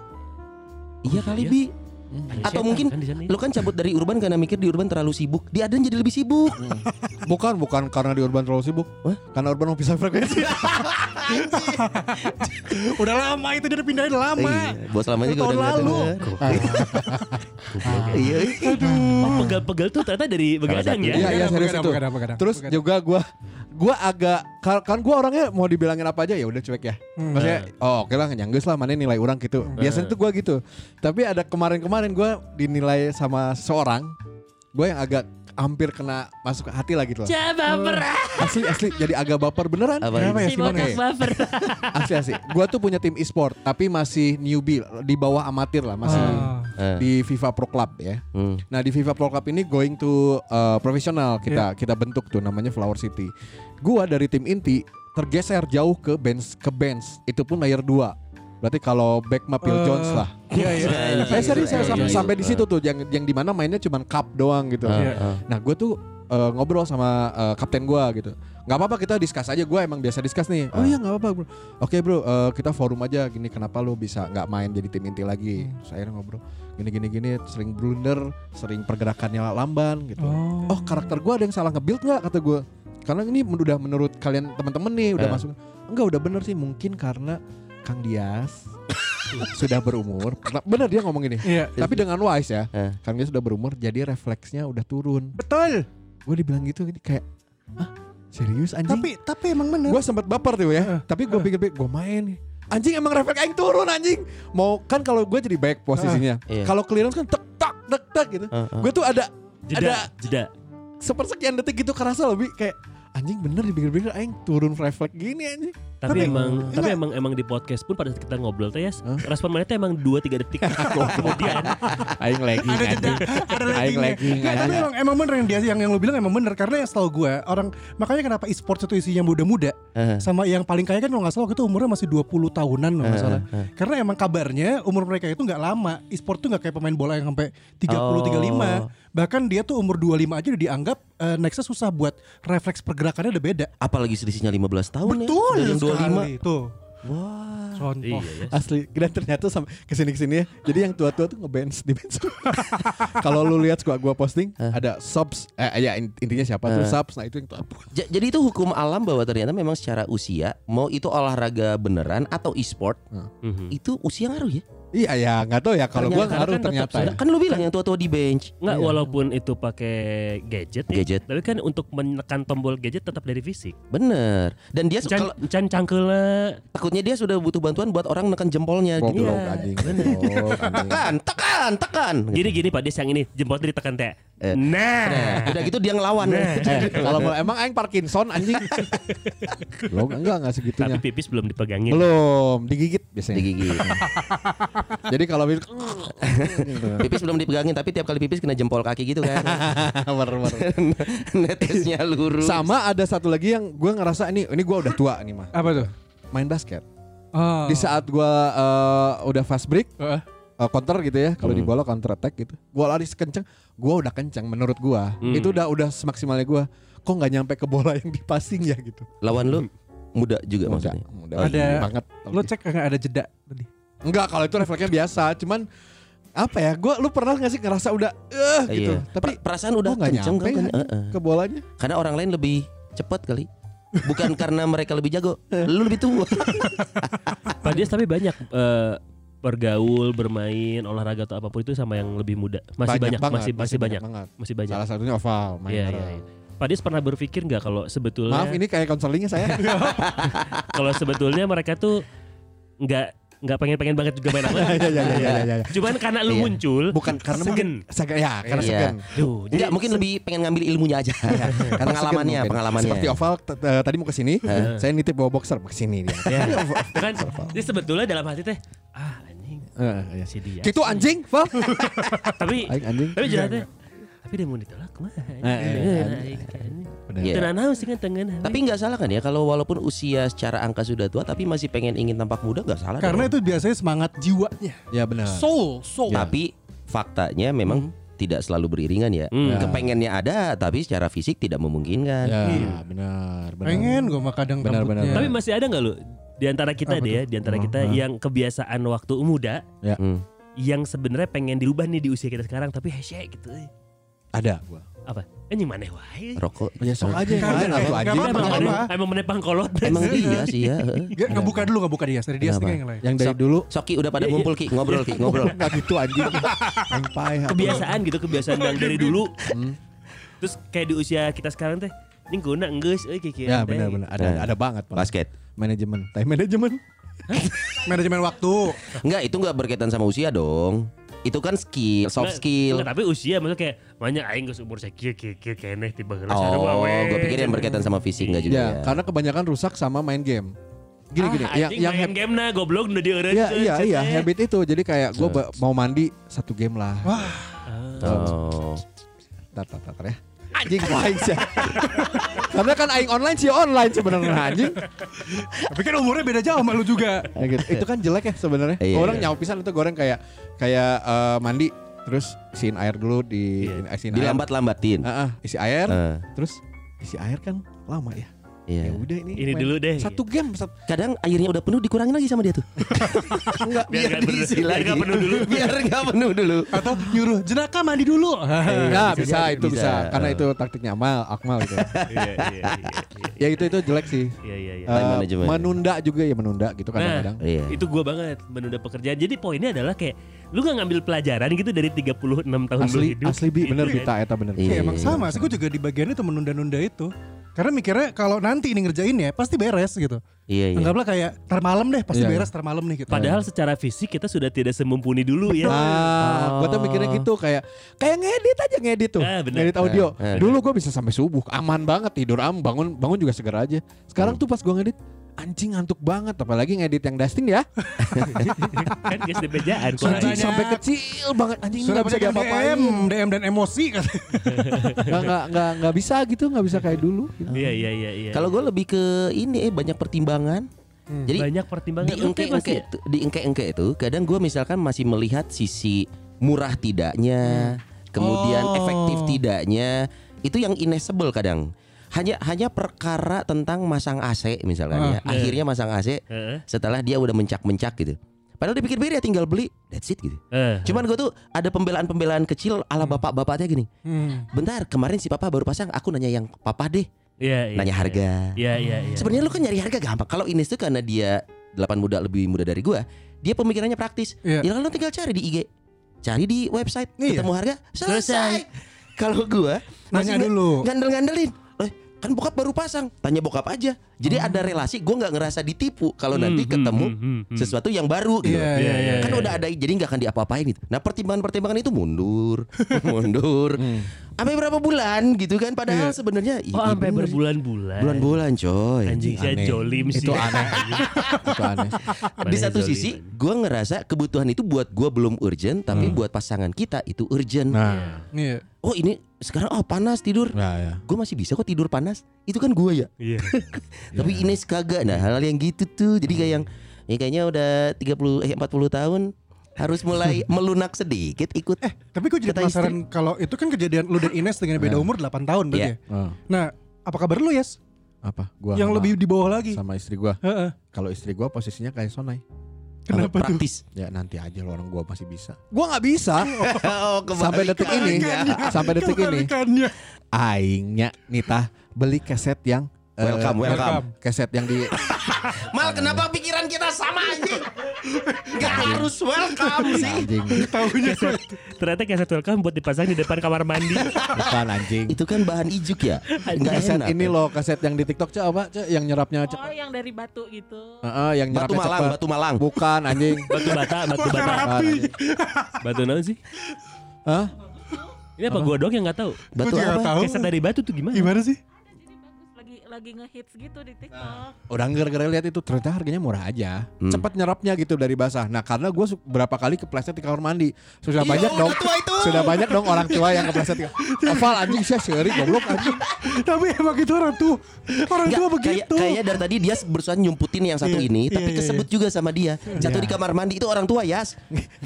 E: Iya kali
C: iya.
E: bi.
C: Ada
E: Atau
C: setan
E: mungkin
C: kan di sana ya?
E: lu kan cabut dari urban karena mikir di urban terlalu sibuk. Di Ardan jadi lebih sibuk.
B: Bukan bukan karena di Urban terlalu sibuk. Karena Urban mau pisah frekuensi.
D: Udah lama itu dia udah pindahin
E: Iya,
D: lama
E: bos lama juga
D: Tahun
E: udah
D: lalu.
E: ngeliatin gua. Iya.
C: Oh pegel-pegel tuh ternyata dari begadang
E: satu-
C: ya
B: Iya, iya serius
D: Begadang, begadang,
B: itu.
D: begadang,
E: Nah,
D: begadang.
B: Terus
D: Begadang.
B: juga gua gua agak kar- kan gua orangnya mau dibilangin apa aja ya udah cuek ya. Maksudnya
E: Nah.
B: oh oke lah nyanggeus lah mana nilai orang gitu.
E: Hmm.
B: Biasanya tuh gua gitu. Tapi ada kemarin-kemarin gua dinilai sama seorang gua yang agak hampir kena masuk ke hati lah gitu loh. Asli asli jadi agak baper beneran.
E: Apa?
D: Kenapa ya
B: Si
D: Simon
B: bokap
D: ya?
B: Asli asli. Gua tuh punya tim e-sport tapi masih newbie di bawah amatir lah masih
D: Ah.
E: Eh,
B: di FIFA Pro Club ya.
E: hmm.
B: Nah di FIFA Pro Club ini going to uh, profesional kita kita bentuk tuh namanya Flower City. Gua dari tim inti tergeser jauh ke bench ke bench itu pun layer 2 Berarti kalau back mah Phil
D: Eh,
B: Jones lah.
D: Iya iya
B: Saya serius saya
E: iya,
B: sampai,
E: iya.
B: sampai di situ tuh yang yang dimana mainnya cuman cup doang gitu.
E: Ah,
D: Iya.
E: ah.
B: Nah gue tuh uh, ngobrol sama uh, kapten gue gitu. Nggak apa-apa kita discuss aja. Gue emang biasa discuss nih. Oh iya nggak apa-apa bro. Oke bro uh, kita forum aja. Gini kenapa lu bisa nggak main jadi tim inti lagi?
D: Hmm.
B: Terus akhirnya ngobrol. Gini gini gini. Sering blunder, sering pergerakannya lamban gitu.
D: Oh.
B: Oh, karakter gue ada yang salah nge-build nggak kata gue? Karena ini men- udah menurut kalian teman-teman nih udah
E: Eh.
B: masuk. Enggak udah bener sih mungkin karena Kang Dias sudah berumur. Bener dia ngomong gini.
D: Iya
B: Tapi dengan wise ya.
E: Eh.
B: Kang Dias sudah berumur jadi refleksnya udah turun
D: Betul
B: gue dibilang gitu ini kayak ah serius anjing
D: Tapi tapi emang bener
C: Nah.
B: gue sempat baper tuh ya tapi gue pikir-pikir gue main nih. anjing emang refleks aing turun anjing mau kan kalau gue jadi back posisinya
E: Iya.
B: kalau clearance kan tek tak tek tak gitu
E: Ah, ah.
B: gue tuh ada
C: Jeda,
B: ada
C: jeda
B: sepersekian detik gitu kerasa lebih kayak anjing bener dipikir-pikir aing turun refleks gini anjing
C: Tapi,
D: Tapi-
C: emang tapi
D: enggak.
C: emang emang di podcast pun pada saat kita ngobrol teh ya, respon mereka tuh emang 2 3 detik kemudian.
B: aing lagging anjing
D: ada
B: aing
D: laggingnya
B: lagging
D: Nggak, tapi
B: anjing
D: emang, emang bener yang dia yang, yang lo bilang emang bener karena yang setahu gue orang makanya kenapa e-sports itu isinya muda-muda
E: Eh.
D: sama yang paling kaya kan kalau nggak salah waktu itu umurnya masih 20 tahunan loh nggak salah. Karena emang kabarnya umur mereka itu nggak lama. E-sport tuh nggak kayak pemain bola yang sampai 30
E: Oh.
D: 35. Bahkan dia tuh umur 25 aja udah dianggap eh, nextnya susah buat refleks pergerakannya udah beda.
E: Apalagi selisihnya 15 tahun ya.
D: Betul
E: Dari yang
D: sekali tuh. Wah.
C: Iya
D: Contoh.
C: ya.
B: asli dan ternyata sampai kesini kesini ya jadi yang tua-tua tuh ngeband di bench kalau lu lihat gua gua posting ada subs eh ya in- intinya siapa tuh subs nah itu yang tua
E: Ja- jadi itu hukum alam bahwa ternyata memang secara usia mau itu olahraga beneran atau e-sport
C: Mhm.
E: itu usia ngaruh ya.
B: iya ya nggak tahu ya kalau gua
C: Ternyata
B: ngaruh
C: kan tetap
B: ternyata
C: sudah
B: ya.
E: Kan lu bilang yang tua-tua di bench.
B: Iya.
C: Nggak walaupun itu pakai gadget, ya,
E: Gadget.
C: tapi kan untuk menekan tombol gadget tetap dari fisik.
E: Bener. Dan dia su-
C: Can,
E: Eh, kalau
C: can cangkele.
E: takutnya dia sudah butuh bantuan buat orang neken jempolnya gitu.
B: Goblok
C: Iya.
B: anjing goblok, anjing.
E: Tekan, tekan, tekan.
C: Gini gini Pak Des yang ini jempolnya ditekan teh.
E: Iya. Eh.
C: Nah.
E: Nah, udah gitu dia ngelawan.
B: Eh, kalau mau- emang aing Parkinson anjing belum enggak enggak
C: Tapi
B: segitunya
C: pipis belum dipegangin.
B: belum digigit
E: Nah.
B: biasanya
E: Digigit.
B: jadi kalau
E: Pipis belum dipegangin tapi tiap kali pipis kena jempol kaki gitu kan. Netesnya lurus.
B: sama ada satu lagi yang gua ngerasa ini ini gua udah tua nih mah
D: Apa tuh?
B: main basket
D: Oh.
B: di saat gua eh, udah fast break
D: Heeh.
B: eh, counter gitu ya kalau di bola counter attack gitu gua lari sekenceng gua udah kenceng menurut gua itu udah udah semaksimalnya gua kok nggak nyampe ke bola yang di passing ya gitu
E: Lawan lu muda juga maksudnya.
B: muda
E: Oh,
D: Ada-
E: iya.
B: banget
D: Lo cek nggak ada jeda tadi?
B: enggak kalau itu refleksnya biasa cuman apa ya gua lu pernah nggak sih ngerasa udah eh gitu
E: Iya. Per-
B: tapi
E: perasaan udah
B: kok nggak
E: kenceng
B: nyampe
E: kan?
B: ya ke bolanya
E: Karena orang lain lebih cepat kali. Bukan karena mereka lebih jago,
B: Eh.
E: lu lebih tua.
C: Pak Dias tapi banyak eh, bergaul, bermain, olahraga atau apapun itu sama yang lebih muda. Masih banyak,
B: banget,
C: masih masih banyak,
B: banget.
C: masih banyak.
B: salah satunya oval main
C: Iya, iya,
B: bareng.
C: iya. Pak Dias pernah berpikir nggak kalau sebetulnya
B: ya, maaf ini kayak konselingnya saya
C: kalau sebetulnya mereka tuh nggak nggak pengen-pengen banget juga main apa.
B: Iya, iya, iya, iya, iya.
C: Cuman karena
E: Iya.
C: lu muncul,
B: Bukan karena
C: segen.
B: mungkin- segen ya, karena
E: Iya.
B: segen.
C: Duh,
E: Enggak, mungkin lebih pengen ngambil ilmunya aja. pengalamannya,
B: Karena segen Iya. kan mungkin.
E: pengalamannya.
B: Seperti oval t- t- tadi mau ke sini, saya nitip bawa boxer ke sini dia.
C: Itu kan jadi sebetulnya dalam hati teh ah anjing
B: Heeh, iya.
C: si dia
B: Gitu anjing, Val.
C: tapi
B: Aing anjing. Iya,
C: tapi jalan teh tapi dia mau ditolak mah
B: eh, Bener.
E: Iya.
C: tenang naon sih kan tengen
E: Tapi nggak salah kan ya kalau walaupun usia secara angka sudah tua tapi masih pengen ingin tampak muda nggak salah. dong.
D: Karena itu biasanya semangat jiwanya.
B: Ya benar.
D: Soul, soul.
E: tapi faktanya
B: Hmm.
E: memang tidak selalu beriringan ya.
B: Iya.
C: Hmm.
E: Kepengennya ada tapi secara fisik tidak memungkinkan.
B: Ya, benar, benar.
D: Pengen gue mah kadang
B: Benar,
D: rambutnya.
B: benar.
C: tapi masih ada nggak lu di antara kita
D: Apa
C: deh ya, di antara kita yang kebiasaan waktu muda
E: Hmm.
C: yang sebenarnya pengen dirubah nih di usia kita sekarang tapi hese gitu eh.
B: ada gua.
C: apa anjing mana wae
E: Rokok.
B: Ya sok aja yang
D: Karena-
B: lain
D: eh,
B: atuh
D: nggak
B: anjing.
D: apa-apa.
C: emang
D: Apa?
C: mana emang mana pangkolot
E: Emang iya sih ya. heeh.
D: Gak nggak buka dulu nggak buka dia, dari dia
E: Kenapa?
D: sendiri yang lain.
B: Yang dari dulu
E: Soki udah pada ngumpul Ki, ngobrol Ki, ngobrol.
B: Enggak gitu anjing. Sampai
C: kebiasaan gitu kebiasaan yang dari dulu
B: Hmm.
C: terus kayak di usia kita sekarang teh ini guna enggeus euy kieu
B: Ya benar benar ada
E: Nah.
B: ada banget Pak.
E: Basket.
B: manajemen time management
D: Manajemen waktu.
E: Enggak, itu enggak berkaitan sama usia dong. Itu kan skill, soft
C: Nggak-
E: skill.
C: nggak, Nah, tapi usia maksudnya kayak banyak aing geus umur sekieu kieu kieu keneh tiba heula sarua
E: Oh,
C: we.
E: gue pikir yang berkaitan sama fisik enggak juga
B: ya,
E: ya.
B: karena kebanyakan rusak sama main game gini gini
C: ah,
B: yang yang
C: main
B: hab-
C: game nah goblok udah dieureun.
B: ya
C: cuy,
B: iya
C: cuy,
B: iya
C: teh.
B: habit itu jadi kayak gue mau mandi satu game lah
E: Oh.
B: tar tar tar, tar ya anjing lain sih karena kan aing online sih online sebenarnya anjing
D: Tapi kan umurnya beda jauh sama lu juga.
B: Ya gitu. itu kan jelek ya sebenarnya
E: Iya,
B: orang
E: iya.
B: nyawa pisan itu goreng kayak kayak eh, mandi terus isiin air dulu di
E: Iya.
B: isiin air
E: Dilambat-lambatin.
B: Heeh, isi air
E: Eh.
B: terus isi air kan lama ya
E: Iya.
B: ya udah ini
C: Ini
B: main.
C: dulu deh.
B: satu game satu
E: Kadang airnya udah penuh dikurangin lagi sama dia tuh.
B: enggak
C: Biar nggak penuh-
E: diisi
C: biar nggak penuh dulu.
E: biar nggak penuh dulu.
D: Atau nyuruh jenaka mandi dulu.
C: Iya,
B: Nah, bisa,
E: jadi,
B: itu
E: bisa.
B: bisa. Karena itu taktiknya Amal, Akmal gitu.
C: Iya iya iya, iya.
B: ya itu itu jelek sih.
C: Iya iya iya.
B: Eh,
E: management.
B: menunda juga ya menunda gitu kadang-kadang.
C: Nah,
E: Iya.
C: itu gua banget menunda pekerjaan. Jadi poinnya adalah kayak lu gak ngambil pelajaran gitu dari 36 tahun lu
B: asli
C: hidup.
B: asli bi
C: Gitu
B: bener
C: kan.
B: bita eta bener.
E: Iya.
D: Ya, emang sama sih, gue juga di bagian itu menunda-nunda itu. Karena mikirnya kalau nanti ini ngerjainnya pasti beres gitu.
E: Iya, iya.
D: Anggaplah kayak tar malam deh, pasti
B: Iya,
D: beres tar malam nih gitu.
C: Padahal secara fisik kita sudah tidak semumpuni dulu ya.
B: Nah, gua tuh mikirnya gitu kayak kayak ngedit aja ngedit tuh.
C: Eh, bener.
B: ngedit audio.
E: Eh, eh.
B: Dulu gua bisa sampai subuh, aman banget tidur am, bangun bangun juga segera aja.
E: Hmm.
B: Sekarang tuh pas gua ngedit anjing ngantuk banget apalagi ngedit yang dusting ya.
C: kan guys di bejaan.
B: Anjing
D: banyak.
B: sampai kecil banget anjing ini
D: sudah
B: enggak bisa
D: bisa
B: diapa-apain.
D: DM, DM dan emosi katanya.
B: Enggak enggak enggak enggak bisa gitu, enggak bisa kayak dulu. gitu.
C: Iya iya iya iya.
E: Kalau gue lebih ke ini eh banyak pertimbangan. Jadi gitu
C: banyak pertimbangan
E: di engke-engke
C: iya.
E: itu, di engke-engke itu kadang gue misalkan masih melihat sisi murah tidaknya,
C: Hmm.
E: kemudian
D: Oh.
E: efektif tidaknya, itu yang inesable kadang. Hanya hanya perkara tentang masang AC
C: Ah,
E: misalkan ya.
C: iya.
E: Akhirnya masang AC
C: Heeh.
E: setelah dia udah mencak-mencak gitu. Padahal dipikir-pikir ya tinggal beli, that's it gitu.
C: Eh.
E: Cuman gue tuh ada pembelaan-pembelaan kecil ala
C: Hmm.
E: bapak-bapaknya gini.
B: Hmm.
E: Bentar, kemarin si papa baru pasang, aku nanya yang papa deh,
C: Iya, iya,
E: nanya
C: iya.
E: harga.
C: Iya iya iya.
E: Sebenarnya lu kan nyari harga gampang. Kalau Ines tuh karena dia 8 muda lebih muda dari gua, dia pemikirannya praktis.
D: Iya.
E: Ya lu tinggal cari di IG, cari di website,
D: Iya.
E: ketemu harga,
C: Selesai.
E: selesai. Kalau gua masih
D: Nanya dulu.
E: Ngandel-ngandelin. Eh, kan bokap baru pasang, tanya bokap aja. Jadi ada relasi, gua nggak ngerasa ditipu kalau nanti
C: hmm,
E: ketemu
C: hmm, hmm, hmm.
E: sesuatu yang baru gitu.
D: Iya,
C: Iya, iya,
E: kan
C: iya.
E: udah ada jadi nggak akan diapa-apain gitu. Nah pertimbangan-pertimbangan itu mundur, mundur. Sampai berapa bulan gitu kan? Padahal sebenarnya iya,
C: Hmm. Oh
E: iya
C: sampai
E: bener.
C: berbulan-bulan.
E: bulan-bulan coy.
C: Anjing saya
B: Aneh.
C: jolim sih.
B: Itu aneh. itu aneh.
E: di satu sisi gue ngerasa kebutuhan itu buat gue belum urgent tapi buat pasangan kita itu urgent
B: Hmm. Nah,
D: Iya.
E: oh ini sekarang oh panas tidur
B: nah ya.
E: gue masih bisa kok tidur panas itu kan gue ya
C: Iya.
E: tapi Ines kagak nah hal-hal yang gitu tuh jadi
B: Hmm.
E: kayak yang ya kayaknya udah 30 eh 40 tahun harus mulai melunak sedikit ikut eh
D: Tapi gue jadi
E: Kata
D: penasaran kalau itu kan kejadian lu dan Ines dengan beda umur 8 tahun berarti
E: Iya.
D: ya. Nah, apa kabar lu Yes?
B: Eh, apa gua
D: Yang
B: sama-
D: lebih di bawah lagi.
B: sama istri gua
D: Heeh.
B: kalau istri gua posisinya kayak sonai
D: Kenapa tuh?
E: praktis
B: ya nanti aja lo orang gua masih bisa gua nggak bisa
E: oh,
B: sampai detik ini sampai detik ini
D: Kebalikannya.
B: aingnya Nita beli kaset yang eh,
E: Welcome, welcome.
B: Keset yang di Ah.
A: Mal kenapa pikiran kita sama anjing? Gak
B: Iya.
A: harus welcome sih.
B: Nah, anjing
D: Tahunya gue.
C: Ternyata kaset welcome buat dipasang di depan kamar mandi.
B: bukan anjing.
E: Itu kan bahan ijuk ya. Enggak
B: Keset
E: enak.
B: Nah.
E: ya.
B: ini loh keset yang di TikTok cak apa cak yang nyerapnya cak.
F: Oh yang dari batu gitu.
B: Heeh, yang
E: Batu
B: nyerapnya
E: Malang,
B: cepat.
E: Batu Malang.
B: Bukan anjing.
C: Batu bata, batu bata. Batu naon sih?
B: Hah?
C: Ini apa gua doang yang nggak tahu?
E: Batu
D: Gua juga
E: apa?
D: tahu.
C: Keset dari batu tuh gimana?
D: Gimana sih?
F: Ada jadi bagus lagi lagi ngehits gitu di TikTok.
B: Orang gara-gara lihat itu ternyata harganya murah aja.
E: Hmm.
B: Cepat nyerapnya gitu dari basah. Nah, karena gue berapa kali kepleset di kamar mandi. Sudah
E: Iya,
B: banyak dong. Sudah banyak dong orang tua yang kepleset. Hafal anjing sih seri goblok anjing.
D: Tapi emang itu orang tua. Orang
E: Enggak, kayak-
D: tua Kan begitu.
E: kayaknya dari tadi dia berusaha nyumputin yang satu
D: Iya,
E: ini,
D: iya,
E: tapi
D: iya,
E: kesebut juga sama dia. Jatuh di kamar mandi itu orang tua ya.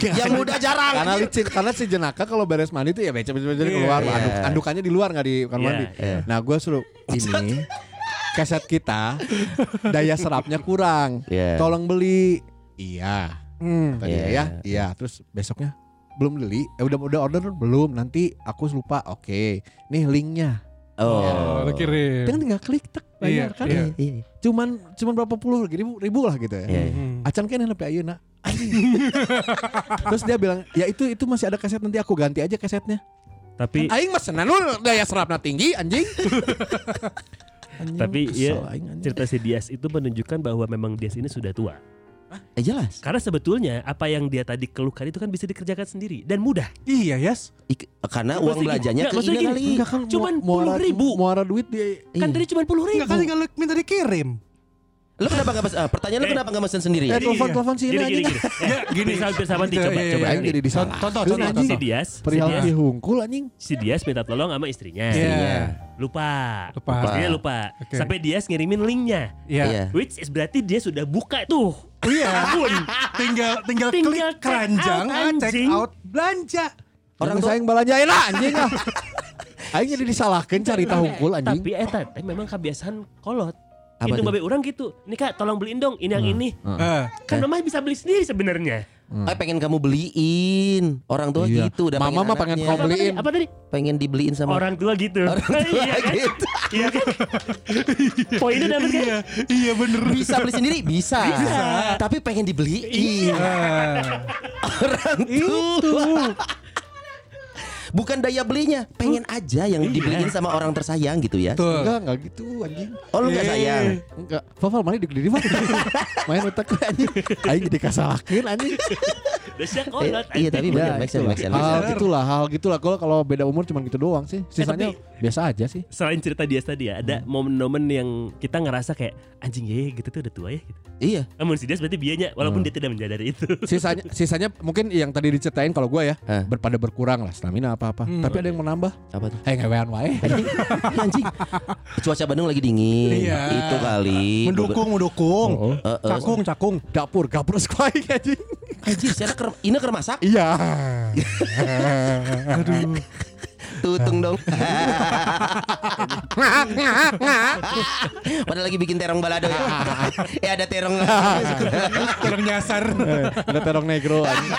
E: yang muda jarang.
B: Karena licin, karena si jenaka kalau beres mandi tuh ya becek-becek keluar.
E: Iya.
B: Anduk- andukannya di luar nggak di kamar
C: Iya,
B: mandi.
E: iya.
B: Nah, gue suruh ini kaset kita daya serapnya kurang.
E: Iya.
B: Tolong beli. Iya.
D: Hmm.
B: tadi
E: Iya.
B: ya. Iya, terus besoknya belum beli. Eh udah udah order belum. Nanti aku lupa. Oke. Nih linknya.
E: Oh.
D: Lu kirim.
B: Kan tinggal klik tek
D: Iya,
B: bayar kan.
D: iya.
E: Iya.
B: Cuman cuman berapa puluh ribu, ribu lah gitu ya.
E: Iya.
D: Hmm.
B: Acan kan yang lebih ayeuna. Anjing. Terus dia bilang, "Ya itu itu masih ada kaset nanti aku ganti aja kasetnya." Kan
C: Tapi
B: Aing mah senan lu daya serapna tinggi anjing. Anjing,
C: Tapi
B: kesel
C: iya,
B: aing, anjing.
C: cerita si Dias itu menunjukkan bahwa memang Dias ini sudah tua.
E: Eh jelas.
C: Karena sebetulnya apa yang dia tadi keluhkan itu kan bisa dikerjakan sendiri dan mudah.
D: Iya, Yes.
E: Ik- karena
C: Maksudnya
E: uang
C: gini,
E: belanjanya
C: enggak,
E: ke
C: maksudnya
E: ini
C: gini,
E: kali.
B: Enggak kan
C: Cuman
B: mua- muara-
C: 10.000.
B: Muara duit dia
E: Iya.
C: Kan tadi cuma puluh ribu.
D: Enggak kan tinggal lu minta dikirim.
E: Lu kenapa nggak pas- eh, pertanyaan lu
C: Eh.
E: kenapa nggak mesen sendiri?
B: Eh telepon-telepon
C: Gini
B: sini
C: gini
B: anjing.
C: gini. Eh, gini hampir sama Ti,
D: Iya,
C: coba
D: iya,
C: coba.
B: Aing
C: Nih,
B: jadi disalah.
D: Contoh,
B: Lu
D: contoh,
B: anjing.
C: Si Dias, si
B: Perihal
C: Dias,
B: dihungkul anjing.
C: si Dias minta tolong sama istrinya.
E: Eh,
D: Iya.
C: Lupa.
D: Lupa.
C: Istrinya lupa.
D: Oke.
C: Sampai Dias ngirimin linknya.
E: Iya.
C: Which is berarti dia sudah buka tuh.
D: Iya. tinggal tinggal
C: Tinggal
D: klik
C: check
D: keranjang,
C: out,
D: ah, check
C: anjing.
D: out belanja.
E: Orang
B: Orang
E: tua-
B: saya belanjain lah anjing ah. Aing jadi disalahkan cari tahu hungkul anjing.
C: Tapi eta teh memang kebiasaan kolot.
E: Apa tuh?
C: itu babe orang gitu. Nih Kak, tolong beliin dong ini yang ini.
D: Eh,
C: Kan mama bisa beli sendiri sebenarnya.
E: Eh pengen kamu beliin. Orang tua
B: Iya.
E: gitu udah
B: Mama mah
E: anaknya.
B: pengen kau
C: Apa tadi?
B: beliin.
C: Apa tadi?
E: pengen dibeliin sama
C: Orang tua gitu.
E: Orang tua
C: Iya kan?
E: gitu.
C: Iya kan? Poinnya dapat kan?
D: iya, iya bener.
E: Bisa beli sendiri? Bisa.
C: Bisa.
E: Tapi pengen dibeliin. Orang
D: Iya. Itu.
E: tua. Bukan daya belinya, pengen aja yang dibeliin sama orang tersayang gitu ya.
D: Tuh.
B: Enggak, enggak gitu anjing.
E: Oh lu gak
D: Iya.
E: sayang?
B: Enggak. Fafal mana di diri mah. Main otak gue, anjing. Aing jadi kasalahkan anjing.
C: Dasar
D: Oh,
E: Eh,
C: kolot.
E: iya tapi
C: anjing.
E: bener, make sense, make sense, make sense.
B: Hal gitulah, hal gitulah. Kalau kalau beda umur cuman gitu doang sih. Sisanya
C: tapi-
B: biasa aja sih.
C: Selain cerita dia tadi ya, ada momen-momen yang kita ngerasa kayak anjing ya gitu tuh udah tua ya. Gitu.
E: Iya.
C: Namun si dia berarti bianya,
E: Hmm.
C: walaupun dia tidak menjadari itu.
B: Sisanya sisanya mungkin yang tadi diceritain kalau gue ya,
E: Eh.
B: berpada berkurang lah stamina apa-apa. Tapi ada yang menambah.
E: Apa tuh?
B: Eh ngewean wae.
E: Anjing, Iya, anjing. Cuaca Bandung lagi dingin.
D: Iya.
E: Itu kali.
D: Mendukung, mendukung.
B: Oh, oh.
E: Eh, eh,
D: Cakung, cakung.
B: Dapur gabres gue aing, anjing.
E: Anjir, saya ker, ini ker masak.
B: Iya.
D: Aduh.
E: Tutung dong. Padahal lagi bikin terong balado ya. ya ada terong.
D: Kurang nyasar.
B: Eh, Ada terong negro anjing.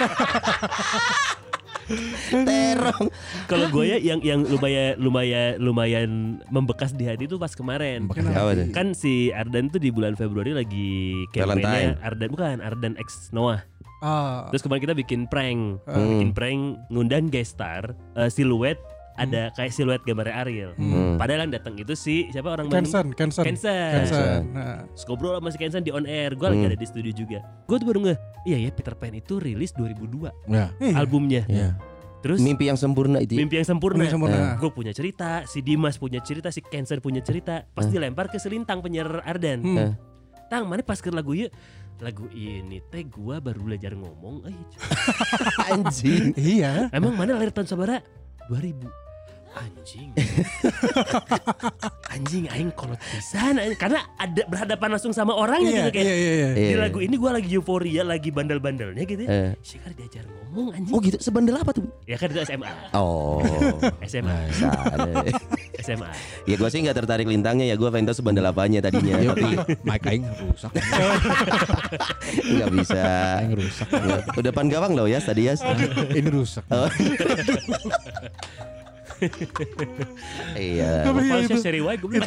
D: Hmm.
E: terong.
C: Kalau gue ya yang yang lumayan lumayan lumayan membekas di hati itu pas kemarin.
E: Apa tuh?
C: Kan si Ardan tuh di bulan Februari lagi kampanye
E: Valentine.
C: Ardan bukan Ardan X Noah.
D: Ah.
C: Terus kemarin kita bikin prank,
E: Hmm.
C: bikin prank ngundang guest star eh, siluet ada kayak siluet gambarnya Ariel.
E: Hmm.
C: Padahal yang datang itu si siapa orang Bandung?
D: Kensen, Kensen.
C: Kensen.
D: Kensen. Nah.
C: Terus ngobrol sama si Kensen di on air. Gue lagi
E: Hmm.
C: ada di studio juga. Gue tuh baru nge, iya ya Peter Pan itu rilis 2002
B: Ya.
D: Iya.
C: albumnya.
B: Iya.
C: Terus
E: Mimpi Nah. yang sempurna itu. ya?
C: mimpi yang sempurna.
D: Murni sempurna.
C: Gue punya cerita, si Dimas punya cerita, si Kensen punya cerita. Pas
E: Nah.
C: dilempar ke selintang penyiar Ardan.
D: Hmm.
C: Tang mana pas ke lagu ieu? Lagu ini teh gua baru belajar ngomong. "Eh, euy.
E: Anjing.
D: Iya.
C: Emang mana lahir tahun sabara? 2000. Anjing. anjing aing kolot pisan anjing. karena ada berhadapan langsung sama orangnya
D: Iya,
C: gitu kayak.
D: iya, iya, iya.
C: Di
E: Iya.
C: lagu ini gua lagi euforia, lagi bandel-bandelnya gitu.
E: Eh.
C: ya. Si kan diajar ngomong anjing.
E: Oh gitu, sebandel apa tuh?
C: Ya kan itu SMA.
E: Oh.
C: SMA.
E: iya. Sadar.
C: SMA.
E: ya gue sih nggak tertarik lintangnya ya gue pengen tahu sebandel apanya tadinya
D: Iya,
B: Ya,
E: tapi
D: Eh,
B: Mike aing rusak.
E: nggak bisa
B: Aing rusak.
E: Nggak. udah pan gawang loh ya tadi ya
B: Ini rusak.
D: Eh.
E: iya
D: Tapi
E: Iya.
D: ya itu, iya,
C: Kalau saya seri wae gua bilang,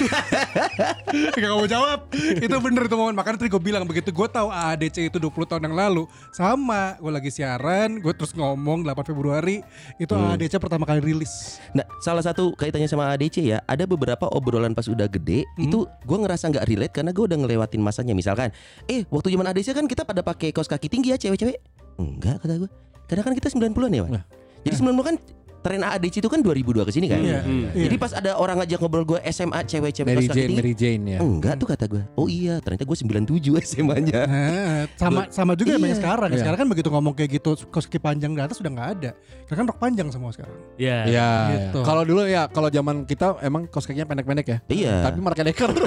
D: Gak mau jawab Itu bener tuh momen Makanya tadi gue bilang Begitu gue tahu AADC itu 20 tahun yang lalu Sama Gue lagi siaran Gue terus ngomong 8 Februari Itu AADC pertama kali rilis
E: Nah, salah satu kaitannya sama ADC ya, ada beberapa obrolan pas udah gede
D: Hmm.
E: itu gua ngerasa nggak relate karena gua udah ngelewatin masanya. Misalkan, eh waktu zaman ADC kan kita pada pakai kaos kaki tinggi ya cewek-cewek. Enggak kata gua. Karena kan kita 90-an ya, Pak. Jadi 90 kan tren ADC itu kan 2002 ke sini kan.
D: Iya, iya.
E: Jadi pas ada orang ngajak ngobrol gua SMA cewek-cewek kaos
B: Mary
E: kaki
B: Jane,
E: tinggi.
B: Mary Jane ya.
E: Enggak tuh kata gua. Oh iya, ternyata gua 97 SMA-nya.
D: Nah, sama sama juga emang yang
E: Iya.
D: sekarang.
B: Iya.
D: Sekarang kan begitu ngomong kayak gitu, koski panjang di atas sudah nggak ada. Karena kan rok panjang semua sekarang.
C: Ya.
B: Iya.
D: Gitu.
B: Kalau dulu ya, kalau zaman kita emang kaos kakinya pendek-pendek ya.
E: Iya.
B: Tapi Mark Decker.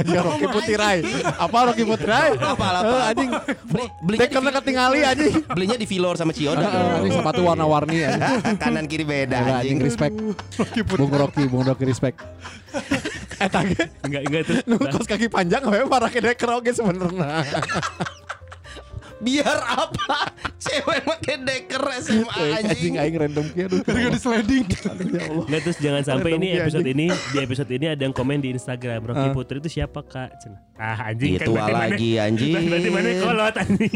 B: ya Rocky Putirai. Apa Rocky Putirai?
A: Apa, apa?
B: Eh, anjing.
E: Beli- belinya
B: Decker
E: di-
B: ketinggali anjing.
E: Belinya di Vilor sama Cioda.
B: Eh, Anjing sepatu warna-warni anjing.
E: Kanan kiri
B: Gila,
E: beda anjing.
B: anjing respect. Bung Rocky, Bung Rocky respect. Eh tage,
C: Enggak enggak itu.
B: lu kos kaki panjang apa marah ke Decker oke sebenarnya.
E: Biar apa? Cewek pakai deker SMA
B: Eh,
E: anjing.
B: Anjing aing random kia aduh.
D: Harga di sliding.
C: Enggak terus jangan sampai ini
B: Iya,
C: episode ini di episode ini ada yang komen di Instagram Rocky Putri itu siapa kak? Cen- Ah anjing
E: Iya, tua
C: berarti
E: lagi,
C: mana-
E: anjing.
C: Berarti mana kolot anjing.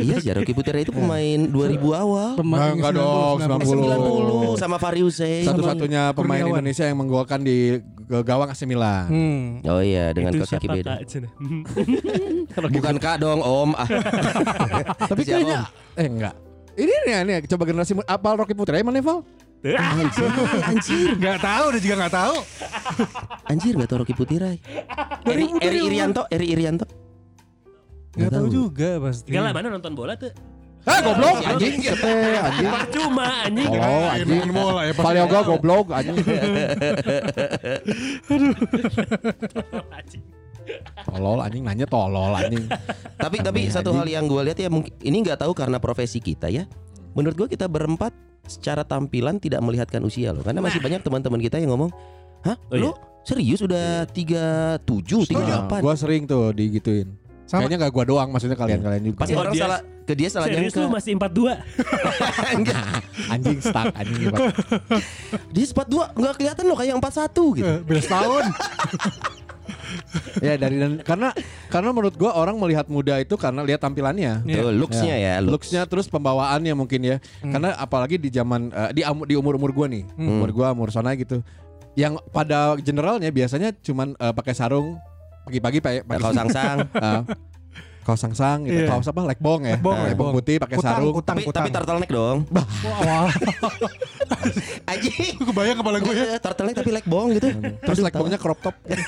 E: Iya sih Rocky Putera itu pemain 2000 awal.
B: Nah, enggak dong,
D: Eh,
E: 90 sama Fahri Hussein.
B: Satu-satunya pemain
D: Kurniawan.
B: Indonesia yang menggolkan di ge- gawang AC Milan.
D: Hmm.
E: Oh iya dengan
C: Itu
E: kaos kaki
C: siapa
E: beda.
C: kak? Cen?
E: Bukan kak dong om. Ah.
B: Tapi
E: Siapa,
B: kayaknya eh enggak. Ini nih, nih coba generasi mu- apal Rocky ya, Putri mana Val?
C: Ah,
E: Anjir,
D: Nggak tahu, dia juga Hmm. nggak tahu.
E: anjir gak tau Rocky Putirai. Eri, Eri Irianto, Eri Irianto.
D: Nggak tahu juga pasti.
C: Enggak lah mana nonton bola tuh?
B: Eh goblok
E: Si
B: anjing.
E: anjing.
B: Sete anjing.
C: Percuma anjing.
B: Oh anjing.
D: Main bola ya, pasti.
B: Valioga goblok anjing.
C: Anjing.
B: Tolol anjing nanya tolol anjing.
E: Tapi tapi
B: Aneh,
E: satu
B: anjing.
E: hal yang gue lihat ya mungkin ini nggak tahu karena profesi kita ya. Menurut gue kita berempat secara tampilan tidak melihatkan usia loh. Karena masih banyak teman-teman kita yang ngomong, "Hah?
C: Oh,
E: lu serius udah 37, 38?"
B: Gua sering tuh digituin.
D: Sama.
B: Kayaknya gak gua doang maksudnya kalian-kalian juga.
E: Pasti
C: Iya,
E: orang
C: dia-
E: salah ke dia salah
C: Serius lu
E: nyangka.
C: masih 42?
E: Enggak.
B: anjing stuck anjing gitu. hebat.
E: Dia sempat dua nggak kelihatan loh kayak 41 gitu.
D: Eh, Beda setahun.
B: ya dari dan karena karena menurut gua orang melihat muda itu karena lihat tampilannya
E: Tuh looks-nya ya, looks.
B: looksnya terus pembawaannya mungkin ya karena apalagi di zaman eh, di amu- di umur umur gua nih umur gua umur sana gitu yang pada generalnya biasanya cuman eh, pakai sarung pagi-pagi pakai
E: Nah,
B: pakai
E: kalau sang-sang.
B: eh, kaos sangsang gitu
D: Iya.
B: kaos apa lekbong ya
D: Lekbong,
B: Nah,
D: lekbong.
B: putih pakai
D: Kutang,
B: sarung
D: kutang,
E: tapi
D: kutang.
E: tapi turtleneck dong.
D: Wah,
E: Anjing.
D: Gue kebayang kepala gue ya.
E: turtleneck tapi like bong gitu.
B: terus lekbongnya crop top
E: Ya.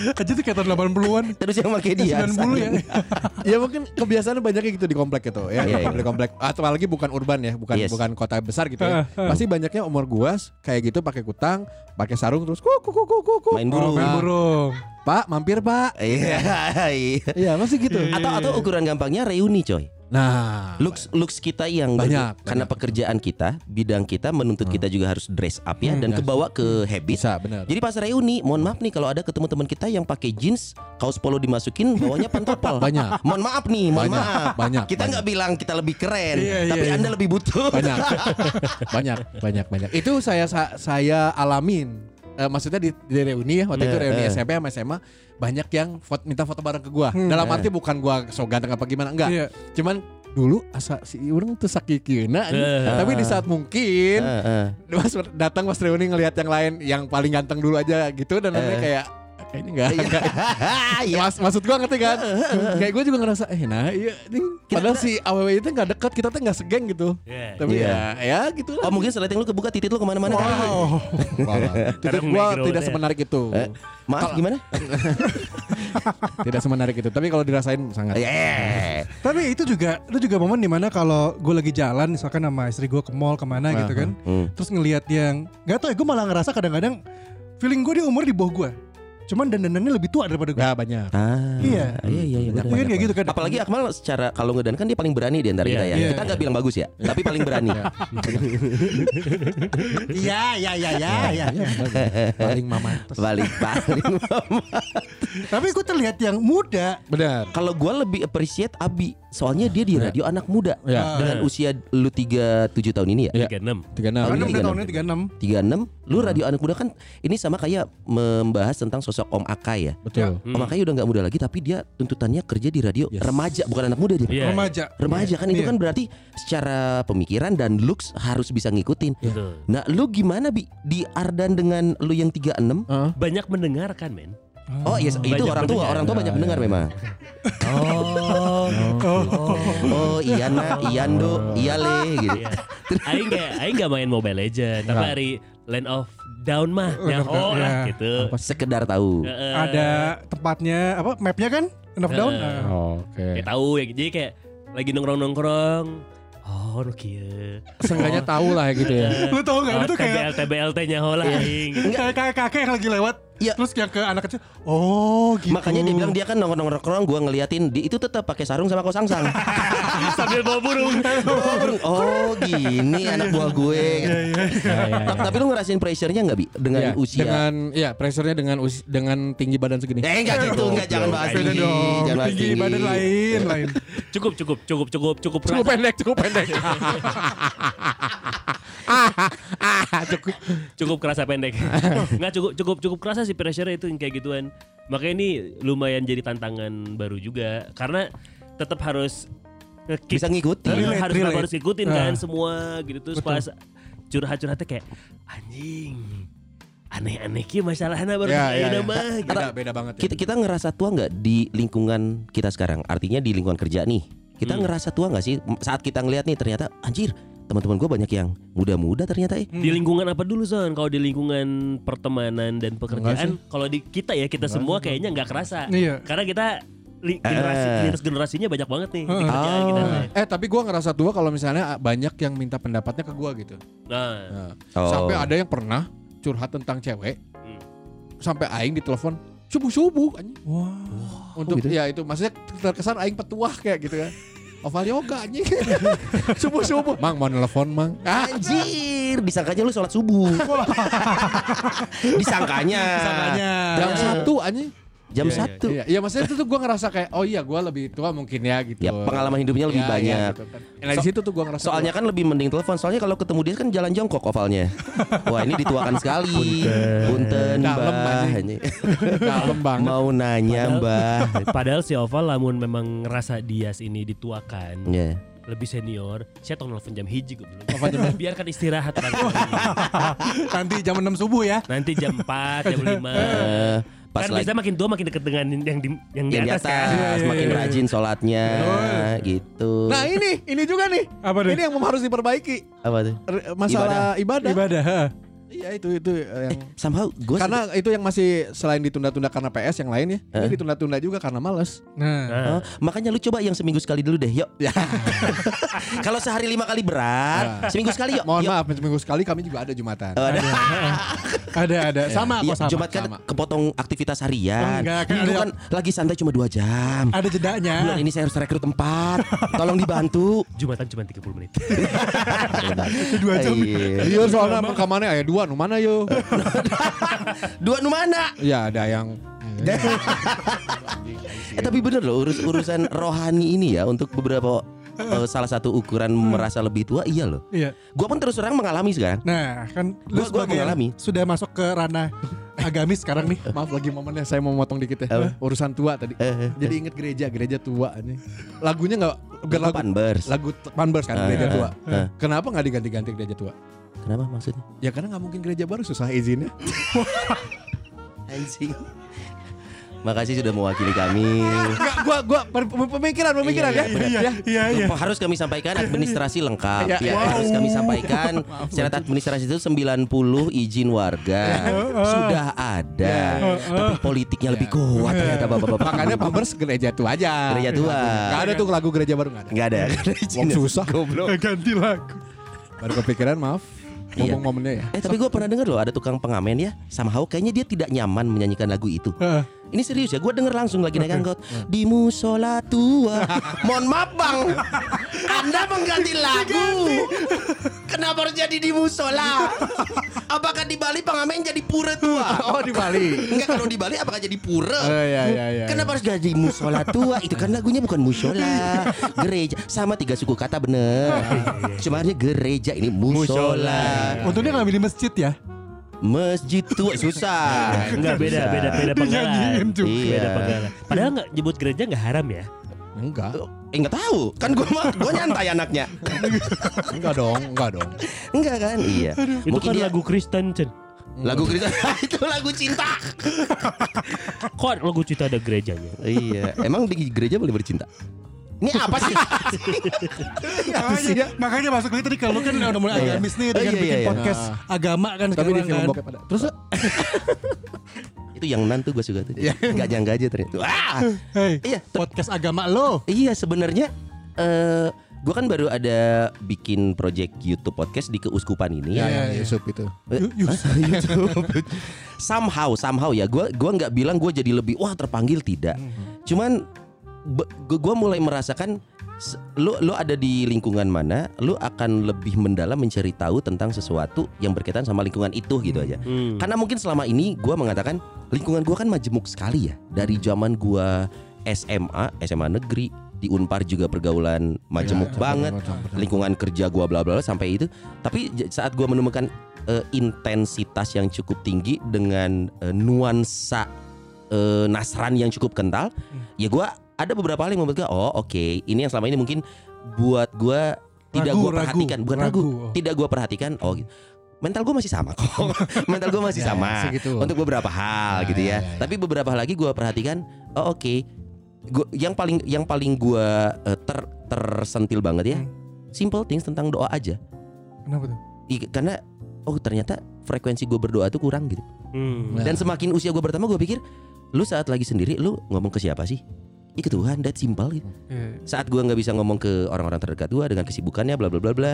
D: Aja tuh kayak tahun 80-an.
E: terus yang pakai dia.
D: 90 ya.
B: ya mungkin kebiasaannya banyaknya gitu di komplek gitu ya
E: Iya,
B: di komplek komplek atau apalagi bukan urban ya bukan
E: Yes.
B: bukan kota besar gitu ya pasti banyaknya umur gua s- kayak gitu pakai kutang pakai sarung terus kuk kuk kuk kuk kuk, kuk.
E: Main burung.
D: Main burung.
B: pak mampir pak
E: Iya, iya.
B: Iya masih gitu
E: Atau atau ukuran gampangnya reuni coy.
B: nah
E: Looks looks kita yang
B: Banyak, Hmm.
E: berdu- karena
B: banyak.
E: pekerjaan kita, bidang kita menuntut kita juga harus dress up
B: Hmm,
E: ya dan kebawa ke habit.
B: bisa benar
E: Jadi pas reuni, mohon maaf nih kalau ada ketemu teman kita yang pakai jeans, kaos polo dimasukin, bawahnya pantopel.
B: Banyak.
E: Mohon maaf nih, mohon
B: Banyak,
E: maaf.
B: banyak,
E: Kita nggak bilang kita lebih keren,
D: Iya, iya,
E: tapi
D: iya.
E: Anda lebih butuh. Kan?
B: banyak banyak banyak banyak itu saya sa- saya alamin Eh, maksudnya di, di reuni ya waktu itu
E: Iya,
B: reuni
E: iya.
B: SMP sama SMA banyak yang foto, minta foto bareng ke gua
E: Hmm.
B: dalam
E: Eh.
B: arti bukan gua so ganteng apa gimana enggak
D: Iya.
B: cuman dulu asa si orang tuh sakikieuna anjing.
C: Eh.
B: tapi di saat mungkin
E: Eh, eh.
B: mas datang pas reuni ngelihat yang lain yang paling ganteng dulu aja gitu dan akhirnya
E: Eh.
B: kayak kayaknya enggak, enggak.
E: Iya.
B: Mas, maksud gua ngerti kan kayak gua juga ngerasa eh nah iya anjing. padahal si aww itu nggak dekat kita tuh nggak segeng gitu
C: Iya.
B: tapi
E: Iya.
B: ya ya gitu lah
E: Oh mungkin seleting lu kebuka titik lu kemana-mana kan?
B: Wow. Titik
C: Kadang
B: gua
C: negro
B: tidak
C: ya.
B: semenarik itu.
E: Eh, Maaf gimana?
B: Tidak semenarik itu. Tapi kalau dirasain
E: Iya.
B: sangat.
E: Yeah.
D: Tapi itu juga itu juga momen dimana kalau gue lagi jalan misalkan sama istri gue ke mall kemana gitu kan,
E: Hmm.
D: terus ngelihat yang nggak tau ya gue malah ngerasa kadang-kadang feeling gue dia umur di bawah gue, cuman dandanannya lebih tua daripada gue.
B: Ya banyak.
E: Ah,
D: Iya.
E: Iya iya iya.
D: Iya
E: benar,
D: kan
E: benar.
D: kayak gitu kan.
E: Apalagi Akmal secara kalau ngedan kan dia paling berani di antara
C: Iya,
E: kita ya.
D: iya,
E: kita nggak bilang bagus ya, tapi paling berani.
D: Iya iya
E: Ya,
D: iya iya. iya.
B: Paling mama.
E: Balik balik.
D: Tapi gue terlihat yang muda.
B: Benar.
E: kalau gua lebih appreciate Abi soalnya dia di radio anak muda
B: Iya.
E: dengan usia lu 37 tahun ini ya.
B: Iya.
C: 36.
D: Karena
B: 36.
E: Tahun ini
D: udah
E: 36.
D: tahunnya
E: Iya,
D: 36
E: 36 lu radio anak muda kan ini sama kayak membahas tentang sosok Om Akai ya.
B: Betul.
E: Om Akai udah nggak muda lagi tapi dia tuntutannya kerja di radio
B: Yes.
E: remaja bukan anak muda dia.
C: Iya.
D: Remaja
E: Remaja kan itu
D: Iya.
E: kan berarti secara pemikiran dan looks harus bisa ngikutin.
C: Betul.
E: Nah, lu gimana Bi di Ardan dengan lu yang 36?
B: Heeh.
C: Banyak mendengarkan, men.
E: Oh, yes, itu
C: Banyak
E: orang tua,
C: mendengar.
E: orang tua
B: Ya,
E: banyak
B: ya,
E: mendengar
B: ya.
E: memang.
D: Nah.
E: Oh. Oh, iya nak, iya do, iya le gitu.
C: Iya. Aing gak, Aing gak main Mobile Legend, tapi
B: Nggak.
C: hari Land of Down mah,
D: Land
C: yang
D: of Dawn,
C: oh lah
D: ya.
C: gitu.
E: Sekedar tahu.
C: Heeh.
D: Ada tempatnya Apa mapnya kan End of down
C: Eh.
D: Nah.
B: Oke.
C: Ya tahu ya, jadi kayak lagi nongkrong nongkrong. Oh, lu kieu.
B: Seenggaknya tahu lah gitu ya.
D: Lu tau gak
C: Oh,
D: Lu tuh kayak
C: TBL TBLT nya hola oh, aing.
D: kayak kakek yang lagi lewat
E: Iya.
D: Terus yang ke anak kecil Oh gitu
E: Makanya dia bilang dia kan nongkrong-nongkrong, gua ngeliatin dia itu tetap pakai sarung sama kosang sang.
C: Sambil bawa burung.
E: oh, gini anak buah gue.
D: Iya,
E: Ta- Tapi lu ngerasain pressure-nya enggak Bi dengan
B: Ya,
E: usia?
B: Dengan ya pressure-nya dengan usi- dengan tinggi badan
E: Eh
B: segini.
D: Iya,
E: enggak gitu, enggak jangan bahas
D: Beda
E: tinggi,
D: dong
E: jangan bahas
D: Tinggi badan lain lain
C: Cukup cukup cukup cukup
B: Cukup
C: cukup. rasa.
B: pendek, cukup pendek.
C: cukup kerasa pendek nggak cukup cukup cukup kerasa sih pressure itu yang kayak gituan makanya ini lumayan jadi tantangan baru juga karena tetap harus nge-kick.
E: Bisa ngikutin.
C: Iya,
D: Relate,
C: harus
D: relate.
C: harus ngikutin kan
D: Ah.
C: semua gitu terus pas curhat-curhatnya kayak anjing aneh-aneh ki masalahnya baru
B: Ya,
C: yeah,
B: ya, ya.
C: mah gitu.
B: Beda beda banget ya.
E: Kita kita ngerasa tua nggak di lingkungan kita sekarang? Artinya di lingkungan kerja nih. Kita
C: Hmm.
E: ngerasa tua nggak sih M- saat kita ngelihat nih ternyata anjir teman-teman gue banyak yang muda-muda ternyata eh.
C: di lingkungan apa dulu son kalau di lingkungan pertemanan dan pekerjaan kalau di kita ya kita semua kayaknya nggak kerasa
D: Iya
C: karena kita li- generasi
E: Eh.
C: generasi generasinya banyak banget nih di
D: Heeh.
C: kerjaan kita
E: Ah.
B: Eh tapi gua ngerasa tua kalau misalnya ah, banyak yang minta pendapatnya ke gua gitu.
C: nah
B: Nah,
E: Oh.
B: Sampai ada yang pernah curhat tentang cewek.
C: Hmm.
B: Sampai aing ditelepon subuh-subuh anjing.
D: Wah
E: Oh,
B: Untuk
E: gitu?
B: ya itu maksudnya terkesan aing petuah kayak gitu kan. Oval yoga anjing. subuh-subuh. Mang mau nelfon Mang.
E: Anjir, disangkanya lu sholat subuh. disangkanya.
D: Makanya
E: Ah.
B: Jam satu anjing.
E: Jam
B: Iya,
E: satu.
B: Iya, iya maksudnya itu tuh gue ngerasa kayak oh iya gue lebih tua mungkin ya gitu.
E: Ya pengalaman hidupnya lebih
B: Iya, iya,
E: banyak.
B: gitu kan. Nah di situ tuh gue ngerasa
E: Soalnya kan lebih mending telepon. Soalnya kalau ketemu dia kan jalan jongkok ovalnya. Wah ini dituakan sekali. Punten,
B: Dalam,
E: mbah.
B: anjing. dalam banget.
E: Mau nanya
C: Padahal-
E: mbah.
C: Padahal si Oval lamun memang ngerasa Dias ini dituakan
E: Ya.
C: lebih senior, saya tolong nelfon jam hiji gue bilang. Biarkan istirahat Bang.
D: Nanti jam 6 subuh ya
C: nanti jam 4, jam 5.
E: Eh, pas
C: kan
E: lagi
C: biasanya makin tua makin dekat dengan yang di yang di
E: yang di
C: atas, kan.
E: atas makin rajin sholatnya gitu
B: Nah ini ini juga nih.
D: Apa tuh?
B: Ini yang harus diperbaiki
E: apa tuh
B: R- masalah ibadah.
D: Ibadah ha.
B: Iya itu itu eh, yang
E: somehow gue
B: karena itu yang masih selain ditunda-tunda karena PS yang lain ya. Ini ditunda-tunda juga karena males.
D: Nah
E: makanya lu coba yang seminggu sekali dulu deh yuk kalau sehari lima kali berat seminggu sekali yuk
B: Mohon
E: yuk.
B: maaf minggu sekali kami juga Iya. Oh, ada jumatan.
E: Eh, ada-
D: Ada ada Sama
E: iya,
D: kok sama
E: Jumat kan
B: sama.
E: kepotong aktivitas harian
D: Enggak, kan
E: Minggu
D: ada-
E: kan lagi santai cuma dua jam
D: Ada jedanya
E: Bulan ini saya harus rekrut empat Tolong dibantu
C: Jumatan cuma 30 menit.
E: Dua
D: jam.
B: Iya soalnya rekamannya ayah dua nu mana yo?
E: Dua nu mana
B: Ya ada yang
E: Eh tapi bener loh urus urusan rohani ini ya untuk beberapa eh, salah satu ukuran merasa lebih tua iya loh.
D: Iya
E: Gua pun terus terang mengalami sekarang.
D: Nah kan
E: Gua-
D: Lu
E: gua
D: sebagai yang
E: mengalami.
D: Sudah masuk ke ranah Agamis sekarang nih
B: Maaf lagi momennya saya mau motong dikit ya. Urusan tua tadi. Jadi inget gereja, gereja tua ini. Lagunya nggak bukan eh, lagu
E: Panbers.
B: lagu t- Panbers kan gereja tua.
E: eh.
B: Kenapa nggak diganti-ganti gereja tua?
E: Kenapa maksudnya?
B: Ya karena nggak mungkin gereja baru susah izinnya.
E: Anjing. Makasih sudah mewakili kami.
B: Nggak, gua gua per- pemikiran pemikiran ya. Ya.
D: Iya iya
E: Harus kami sampaikan administrasi lengkap
B: Iya,
E: ya.
B: wow.
E: Harus kami sampaikan syarat administrasi itu 90 izin
B: Iya,
E: warga sudah ada. Tapi politiknya lebih kuat ternyata Bapak-bapak.
B: Iya. Makanya Panbers gereja tua aja.
E: Gereja tua.
B: Gak ada tuh lagu gereja baru nggak ada.
E: enggak ada.
B: Wong susah.
D: Ganti lagu
B: Baru kepikiran maaf.
E: Iya.
B: Ngomong momennya ya.
E: Eh tapi gue pernah dengar loh ada tukang pengamen ya Somehow kayaknya dia tidak nyaman menyanyikan lagu itu
D: Heeh.
E: Ini serius ya, gue denger langsung lagi naik angkot Di musola tua Mohon maaf bang Anda mengganti lagu Kenapa harus jadi di musola? Apakah di Bali pengamen jadi pura tua?
B: Oh di Bali.
E: Enggak kalau di Bali apakah jadi pura?
B: Oh iya iya iya.
E: Kenapa harus jadi musola tua? Itu kan lagunya bukan musola, gereja. Sama tiga suku kata bener.
B: Iya,
E: Cuma harusnya gereja ini musola.
D: Untungnya nggak milih masjid ya.
E: Masjid tua susah.
C: Enggak beda,
E: Susah.
C: beda, beda
D: Dinyanyiin
C: penggalan.
D: tuh.
E: Nah, Iya.
C: Beda penggalan. Padahal nggak nyebut gereja nggak haram ya.
B: Enggak.
E: Eh nggak tahu, kan gua mah gua nyantai anaknya.
B: Enggak dong, enggak dong.
E: Enggak kan? Iya.
C: Itu
E: Mungkin
C: kan
E: dia-
C: lagu Kristen, Cen.
E: lagu Kristen itu lagu cinta.
C: Kok Kan lagu cinta ada gerejanya?
E: iya, emang di gereja boleh bercinta. Ini apa sih?
B: sih
D: Makanya,
B: ya?
D: Oh, iya. makanya masuk lagi tadi kalau lu kan udah mulai agamis nih
E: Oh,
D: dengan
E: Iya, iya,
D: bikin
E: iya, iya.
D: podcast agama kan
B: Tapi di
D: sekarang
B: film
D: kan.
B: bokep ada. Terus
E: itu yang nantu gua suka tuh.
C: Iya.
E: Enggak nyangka aja ternyata. Wah.
D: Hey,
E: Iya,
D: podcast agama lo.
E: Iya sebenarnya eh gue kan baru ada bikin project YouTube podcast di keuskupan ini
B: ya,
C: Iya,
E: ya.
B: yang Yusuf itu.
E: Eh, hah? YouTube. somehow somehow ya gue gua nggak bilang gue jadi lebih wah terpanggil tidak. Cuman gue mulai merasakan s- lu lu ada di lingkungan mana, lu akan lebih mendalam mencari tahu tentang sesuatu yang berkaitan sama lingkungan itu gitu aja.
C: Hmm.
E: Karena mungkin selama ini gua mengatakan lingkungan gua kan majemuk sekali ya dari zaman gua SMA, SMA negeri di Unpar juga pergaulan
B: Ya,
E: majemuk
B: Iya,
E: banget. Iya, Lingkungan kerja gua bla bla bla sampai itu. Tapi j- saat gua menemukan eh, intensitas yang cukup tinggi dengan eh, nuansa eh, Nasran yang cukup kental, ya gua ada beberapa hal yang membuat gua oh oke, ini yang selama ini mungkin buat gua tidak
D: Ragu,
E: gua
D: ragu,
E: perhatikan, bukan ragu,
D: ragu. Oh.
E: tidak gua perhatikan. Oh, gitu. mental gua masih sama kok. mental gua masih iya,
B: Ya,
E: sama
B: segitu.
E: untuk beberapa hal
B: Ya,
E: gitu ya.
B: ya, ya, ya.
E: Tapi beberapa hal lagi gua perhatikan, oh oke. Gua, yang paling yang paling gua eh, ter tersentil banget ya.
B: Hmm.
E: Simple things tentang doa aja.
D: Kenapa tuh?
E: I- karena oh ternyata frekuensi gua berdoa tuh kurang gitu.
C: Hmm.
B: Nah.
E: Dan semakin usia gua bertambah gua pikir, lu saat lagi sendiri lu ngomong ke siapa sih? Ih ke Tuhan, that simple gitu.
D: Iya,
E: Saat gua nggak bisa ngomong ke orang-orang terdekat gua dengan kesibukannya bla bla bla bla.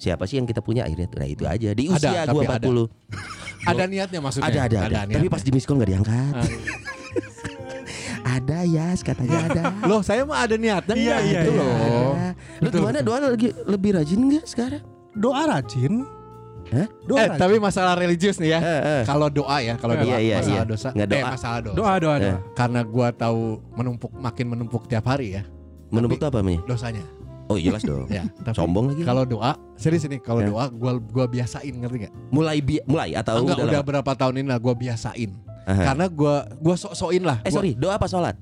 E: Siapa sih yang kita punya akhirnya? Nah itu aja di
B: Ada,
E: usia
B: tapi
E: gua
B: ada.
E: 40.
B: Ada niatnya maksudnya.
E: Ada ada ada. Tapi pas di miskol nggak diangkat. ada ya, katanya ada.
B: Loh, saya mah ada niatnya
D: Iya,
B: enggak
D: iya,
B: gitu
D: iya.
B: loh.
E: Ada. Lu gimana doa lagi lebih rajin nggak sekarang?
D: Doa rajin.
E: Hah?
D: Doa
B: eh,
D: rajin.
B: tapi masalah religius nih ya.
E: Eh, eh.
B: Kalau doa ya, kalau
D: Iya,
B: doa
E: iya,
B: masalah
E: iya.
B: dosa.
E: Nggak
B: Eh,
E: doa.
B: masalah dosa.
D: Doa doa doa.
E: Iya.
B: Karena gua tahu menumpuk makin menumpuk tiap hari ya
E: Menumpuk tuh apa namanya?
B: dosanya.
E: Oh jelas dong.
B: Ya, tapi
E: Sombong lagi.
B: kalau doa serius ini kalau
E: Ya.
B: doa gua gua biasain ngerti nggak?
E: mulai bi- mulai atau
B: Enggak
E: Oh, udah,
B: udah
E: lama?
B: berapa tahun ini lah gua biasain.
E: Aha.
B: Karena gua gua sok-sokin lah.
E: Eh
B: Gua-
E: sorry, doa apa sholat?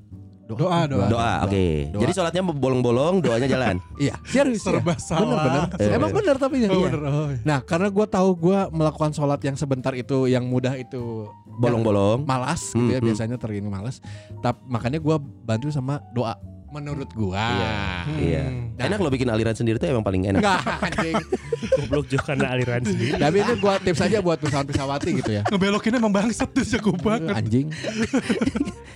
D: Doa, doa.
E: Doa, oke.
B: Doa.
E: Jadi sholatnya bolong-bolong, doanya jalan.
B: Iya, serius ya.
D: Serba salah.
B: Bener, bener.
E: Eh.
B: Emang bener tapi ya.
D: Oh,
B: Iya.
D: bener. Oh, iya.
B: Nah, karena gua tahu gua melakukan sholat yang sebentar itu, yang mudah itu
E: Bolong-bolong.
B: malas gitu
E: Mm,
B: ya
E: mm.
B: biasanya tergini malas. Tapi makanya gua bantu sama doa menurut gua.
E: Iya. Iya.
D: Hmm.
B: Nah.
E: Enak lo bikin aliran sendiri tuh emang paling enak.
B: Enggak anjing.
C: Goblok juga karena aliran sendiri.
B: Tapi itu gua tips aja buat perusahaan pesawati gitu ya.
D: Ngebelokinnya emang bangsat tuh jago banget.
B: Anjing.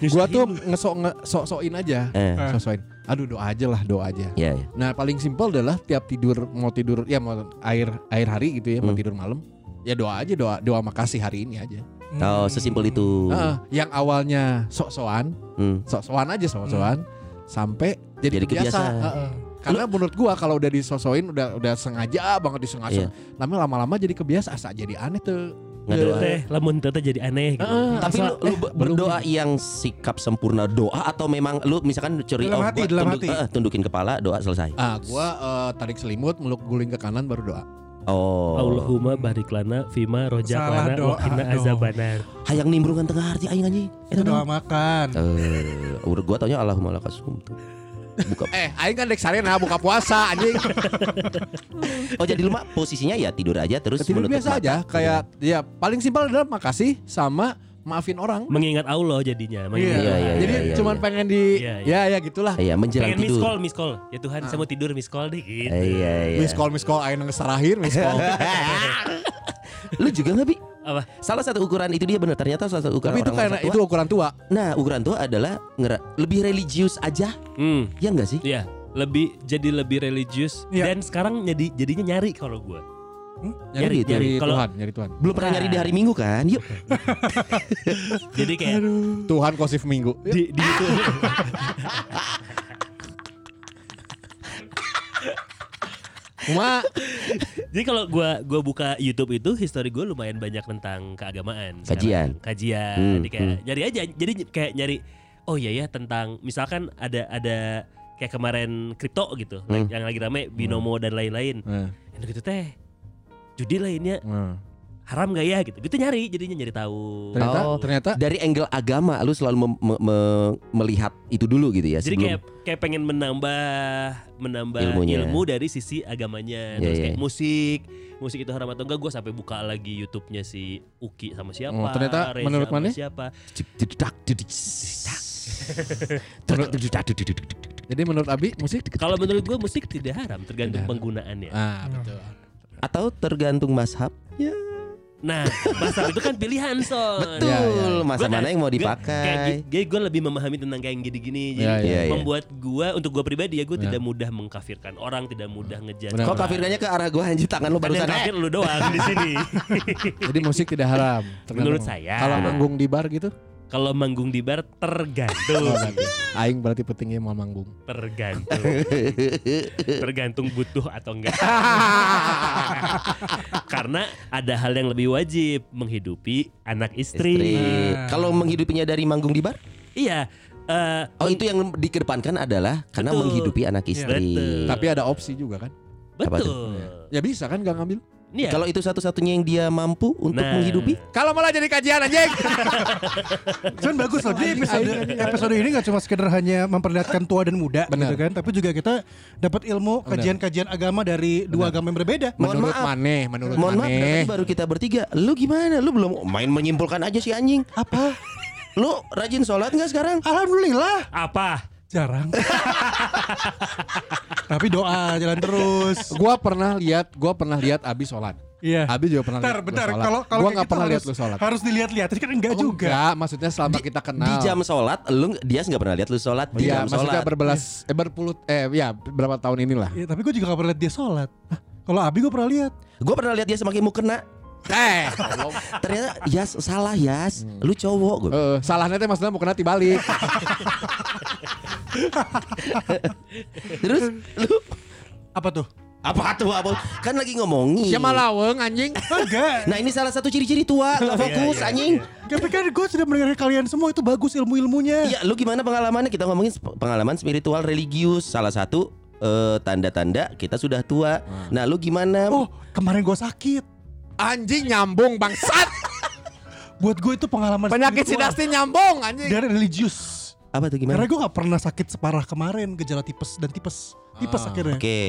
B: gua tuh ngesok ngesok-sokin aja.
E: Eh,
B: Sosokin. Aduh doa aja lah, doa aja.
E: ya, ya.
B: Nah paling simpel adalah tiap tidur mau tidur ya mau air air hari gitu ya mau
E: Hmm.
B: tidur malam ya doa aja doa doa makasih hari ini aja.
D: Hmm.
E: Oh, sesimpel itu.
B: Heeh, yang awalnya sok-sokan,
E: Hmm.
B: sok-sokan aja sok-sokan sampai
E: Jadi
B: jadi,
E: Iya.
B: kebiasa.
E: kebiasaan.
B: Heeh. Karena menurut gua kalau udah disosoin udah udah sengaja banget
E: Iya.
B: disengaja. Lama lama-lama jadi kebiasaan asa jadi aneh tuh.
E: Nggak doa.
C: Teh, lamun teteh jadi aneh gitu.
B: Heeh,
E: Tapi
B: asa,
E: lu, lu
B: eh,
E: be-
B: belum
E: berdoa
B: nih.
E: yang sikap sempurna doa atau memang lu misalkan curi oh,
D: Dalam
E: gua
D: hati, dalam
E: tunduk-
D: hati.
E: eh, tundukin kepala doa selesai.
B: Ah, gua eh, tarik selimut, meluk guling ke kanan baru doa.
E: Oh.
C: Allahumma bariklana fima
D: Salah
C: rojaklana
D: doa
C: wakina
D: dong.
C: azabana.
E: Hayang nimbrungan tengah arti aing anjing. Eta
D: Itu doa
E: naon?
D: makan.
E: Eh, urut gua taunya Allahumma lakas tuh. Buka.
B: Eh, aing kan dek sarena buka puasa anjing.
E: Oh jadi lu mah posisinya ya tidur aja terus
B: Tidur
E: menutup
B: biasa
E: mata.
B: aja kayak ya paling simpel adalah makasih sama maafin orang.
C: Mengingat Allah jadinya.
B: Iya,
C: mengingat
E: Iya,
C: Allah.
E: iya,
B: Jadi
E: iya,
B: cuman
E: iya.
B: pengen di
C: Iya, iya.
B: ya ya gitulah.
E: Iya menjelang
C: Pengen miss
E: tidur.
C: call, miss call. Ya Tuhan,
D: Ah.
C: saya mau tidur miss call deh gitu.
E: Eh, Iya iya.
B: Miss call miss call aing nang sarahin miss call.
E: lu juga nggak bi?
C: Apa?
E: Salah satu ukuran itu dia benar ternyata salah satu ukuran
B: Tapi itu
E: orang
B: karena
E: masa tua.
B: itu ukuran tua.
E: Nah ukuran tua adalah ngera- lebih religius aja
C: Hmm.
E: ya enggak sih?
C: Iya, lebih jadi lebih religius
D: Iya.
C: dan sekarang jadi jadinya nyari kalau gua.
E: Nyari,
B: Nyari, nyari
C: nyari. Kalau-
B: Tuhan, nyari Tuhan.
E: Belum pernah nyari di hari Minggu kan? Yuk.
C: Jadi kayak
B: Tuhan kosif minggu.
C: di, di YouTube.
B: Cuma
C: Jadi kalau gua gua buka YouTube itu history gua lumayan banyak tentang keagamaan.
E: Kajian.
C: Sekarang. Kajian.
E: Hmm,
C: Jadi kayak nyari aja. Jadi kayak nyari oh iya ya tentang misalkan ada ada kayak kemarin kripto gitu
E: Hmm.
C: like yang lagi rame binomo dan lain-lain.
B: eh,
C: Yang gitu teh judi lainnya
B: eh.
C: haram gak ya gitu. Gitu nyari jadinya nyari tahu.
B: ternyata
E: Oh.
B: ternyata
E: Dari angle agama lu selalu mem- me- me- melihat itu dulu gitu ya
C: Jadi
E: sebelum
C: kayak kayak pengen menambah menambah
E: Ilmunya.
C: ilmu dari sisi
E: Iya,
C: agamanya. Terus
E: iya.
C: kayak musik, musik itu haram atau enggak gue sampai buka lagi YouTube-nya si Uki sama siapa,
B: Oh, ternyata
C: Reza
B: menurut
C: sama
B: Mane?
C: siapa.
B: jadi menurut Abi musik
C: Kalau menurut gue musik tidak haram tergantung penggunaannya.
B: Ah, betul.
E: atau tergantung mazhab. Ya,
C: Nah, bahasa itu kan pilihan son.
E: betul.
B: ya,
E: Masa
C: iya, Gua-
E: mana yang mau
C: gua- kayak gitu.
E: dipakai?
C: gi- Jadi gue lebih memahami tentang kayak yang gini-gini. Jadi
B: Iya,
E: iya, iya.
C: membuat gue untuk gue pribadi ya gue
B: Iya.
C: tidak mudah mengkafirkan orang, tidak mudah ngejudge.
B: Benar,
E: Kok
C: orang.
E: kafirnya ke arah gua anjir tangan lu
C: Kan yang
E: barusan. eh?
C: kafir lu doang di sini.
B: Jadi musik tidak haram.
C: Menurut saya.
B: Kalau manggung di bar gitu,
C: Kalau manggung di bar tergantung,
B: oh, berarti. aing berarti pentingnya mau manggung.
C: tergantung, tergantung butuh atau enggak. Karena ada hal yang lebih wajib menghidupi anak
E: Istri.
C: istri.
D: Nah.
E: Kalau menghidupinya dari manggung di bar?
C: Iya. eh,
E: Oh, itu yang dikedepankan adalah karena
C: Betul. Iya.
E: menghidupi anak istri.
C: betul.
B: Tapi ada opsi juga kan?
E: Apa tuh?
C: betul.
B: Ya bisa kan gak ngambil?
C: Iya.
E: Kalau itu satu-satunya yang dia mampu untuk
C: Nah.
E: menghidupi
B: Kalau malah jadi kajian anjing.
D: Cuman bagus loh di episode episode ini gak cuma sekedar hanya memperlihatkan tua dan muda
B: Benar.
D: gitu kan, tapi juga kita dapat ilmu kajian-kajian agama dari dua agama yang berbeda.
E: Mohon
B: menurut
E: maaf.
B: Mane, menurut
E: Mohon maaf,
B: Mane.
E: tadi baru kita bertiga. Lu gimana? Lu belum main menyimpulkan aja si anjing. Apa? Lu rajin sholat nggak sekarang?
D: Alhamdulillah
C: Apa?
D: jarang. tapi doa jalan terus.
B: Gua pernah lihat, gua pernah lihat Abi sholat.
D: Iya.
B: Abi juga pernah lihat
D: Bentar,
B: gua
D: bentar.
B: sholat.
D: Kalau kalau
B: gua
D: kayak
B: nggak
D: gitu
B: pernah lihat
D: harus-
B: lu sholat.
D: Harus dilihat-lihat, kan enggak
B: Oh,
D: juga.
B: Enggak, maksudnya selama kita kenal.
D: Oh.
E: Di jam sholat, lu dia nggak pernah lihat lu sholat. Di
B: Iya,
E: jam
B: maksudnya
E: sholat.
B: berbelas eh berpuluh eh ya berapa tahun inilah.
D: Ya, tapi gue juga gak pernah lihat dia sholat. Hah, Kalau Abi gue pernah lihat.
E: Gue pernah lihat dia semakin mukena.
B: Eh,
E: Ternyata Yas salah Yas.
D: Hmm.
E: Lu cowok
D: Oh.
E: gue.
B: eh, salahnya teh maksudnya mau kena balik.
E: Terus lu
D: Apa tuh?
E: apa tuh apa? Kan lagi ngomongin.
B: Siapa laweng anjing?
D: Enggak.
E: Nah ini salah satu ciri-ciri tua Gak
D: Iya,
E: fokus anjing
D: Tapi kan gue sudah mendengar kalian semua itu bagus ilmu-ilmunya.
E: Iya lu gimana pengalamannya Kita ngomongin sp- pengalaman spiritual religius Salah satu eh, tanda-tanda kita sudah tua Nah lu gimana
D: Hmm. Oh, kemarin gue sakit.
B: Anjing nyambung bangsat.
D: Buat gue itu pengalaman
B: Penyakit si
D: spiritual
B: Dustin nyambung anjing.
D: dari religius.
E: Apa tuh gimana?
D: Karena gue gak pernah sakit separah kemarin gejala tipes dan tipes. Tipes
B: Ah,
D: akhirnya.
E: Oke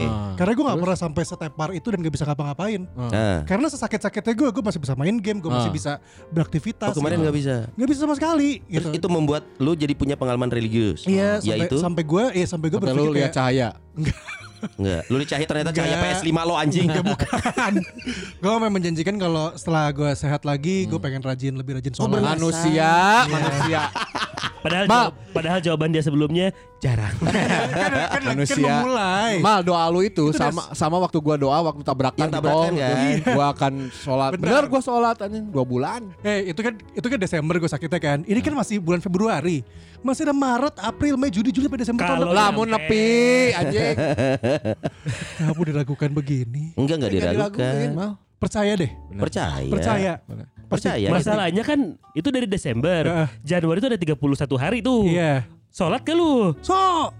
D: Karena gue gak pernah sampai setepar itu dan gak bisa ngapa-ngapain.
E: Nah.
D: Karena sesakit-sakitnya gue, gue masih bisa main game, gue masih
B: Ah.
D: bisa
E: Oh
D: beraktivitas.
E: kemarin
D: gitu.
E: nggak bisa.
D: Nggak bisa sama sekali.
E: Terus
D: Gitu.
E: itu membuat lu jadi punya pengalaman religius.
D: Iya, sampai,
E: Oh. Yaitu
D: sampai gue, iya sampai gue
B: Sampai
D: berpikir
B: lu
D: kayak,
B: lihat cahaya.
E: enggak. Lu dicahit ternyata cahaya
D: Enggak.
E: PS5 lo anjing.
D: Enggak bukan. gue memang menjanjikan kalau setelah gue sehat lagi, gue pengen rajin lebih rajin
E: Oh,
D: sholat.
E: benar.
D: Iya.
B: Manusia, manusia.
C: Padahal
B: Ma-
C: jawab- padahal jawaban dia sebelumnya jarang.
D: kan, kan, kan
B: Manusia.
D: memulai.
B: Mal doa lu itu,
D: Itu
B: sama sama waktu gua doa waktu tabrakan
E: Yang tabrakan
B: di
E: kan?
B: tol. Iya. Gua akan sholat.
D: Benar.
B: Bener gua sholat anjing 2 bulan.
D: Eh itu kan itu kan Desember gue sakitnya kan. Ini kan masih bulan Februari. Masih ada Maret, April, Mei, Juni, Juli, sampai Desember.
C: Kalau-
D: Tahun depan.
B: Lah mau
C: nyampe.
B: nepi anjing.
D: Kamu diragukan begini.
E: Enggak enggak
B: Nggak
E: diragukan.
B: diraguin, Mal.
D: Percaya deh.
E: Percaya.
D: Percaya.
B: Benar.
E: Percaya. gitu.
C: Masalahnya kan itu dari Desember.
D: Heeh.
C: Januari itu ada 31 hari tuh.
D: Iya.
C: Sholat ke lu?
D: So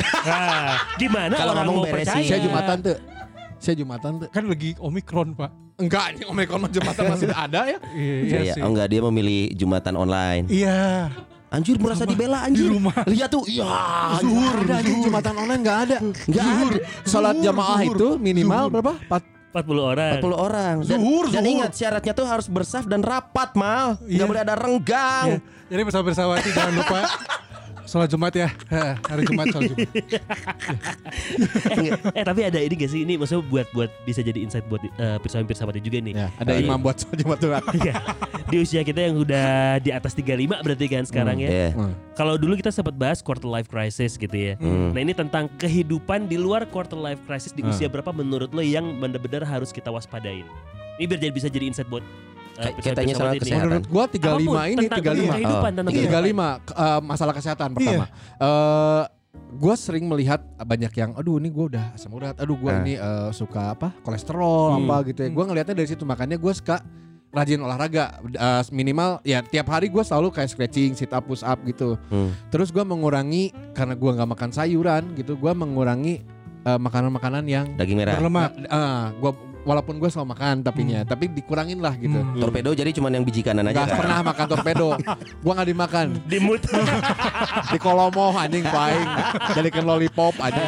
C: Nah, gimana
E: Kalau
C: orang
E: ngomong
C: mau
E: beresin.
C: percaya?
B: Saya Jumatan tuh. Saya Jumatan tuh.
D: kan lagi Omikron pak.
B: Enggak anjing Omikron mah Jumatan masih ada ya.
D: Iya
E: Percaya.
D: sih.
E: Oh enggak dia memilih Jumatan online.
D: Iya.
E: Anjir merasa dibela
D: Di
E: anjir.
D: rumah.
E: Lihat tuh. Iya.
B: Zuhur, ada anjing Jumatan online enggak ada.
E: Enggak ada.
B: Salat
D: zuhur,
B: jamaah
D: zuhur,
B: itu minimal
D: zuhur.
B: berapa? Empat-
C: 40 orang.
E: 40 orang. Dan,
D: Zuhur,
E: dan
D: zuhur.
E: ingat syaratnya tuh harus bersaf dan rapat mal. Enggak
D: Iya.
E: boleh ada renggang.
D: Iya. Jadi bersama bersama jangan lupa Sholat Jumat ya. Heh, Hari Jumat sholat Jumat.
E: Iya.
C: eh, eh, tapi ada ini gak sih ini maksudnya buat buat bisa jadi insight buat eh, pirsa-pirsa mati juga nih.
B: Ya, ada
C: Di-
B: imam buat sholat Jumat doang.
C: Iya. di usia kita yang udah di atas 35 berarti kan sekarang ya.
E: Iya.
C: Kalau dulu kita sempat bahas quarter life crisis gitu ya.
E: Hmm.
C: Nah ini tentang kehidupan di luar quarter life crisis di usia berapa menurut lo yang benar-benar harus kita waspadain? Ini biar jadi bisa jadi insight buat eh,
E: Kayak-
C: pirsa-pirsa
E: katanya soal
C: mati nih.
E: kesehatan.
B: Menurut gua 35
C: Apapun,
B: ini
C: tentang
B: 35.
C: kehidupan, tentang
B: Iya.
C: kehidupan.
B: 35 ke- eh, masalah kesehatan pertama. Eh gue sering melihat banyak yang aduh ini gue udah asam urat, aduh gue
E: Ah.
B: ini eh, suka apa? kolesterol
C: Hmm.
B: apa gitu ya. Gue ngelihatnya dari situ makanya gue suka rajin olahraga Eh, minimal ya tiap hari gue selalu kayak stretching, sit up, push up gitu.
E: Hmm.
B: Terus gue mengurangi karena gue nggak makan sayuran gitu, gue mengurangi eh, makanan-makanan yang
E: Daging merah.
D: Berlemak.
B: eh, gua walaupun gue selalu makan tapinya, tapi dikurangin lah gitu.
D: Hmm.
E: Torpedo jadi cuman yang biji kanan aja
B: Gak
E: kan.
B: pernah makan torpedo Gua gak dimakan
C: Di mood.
B: Di kolomo anjing paing Jadikan lollipop anjing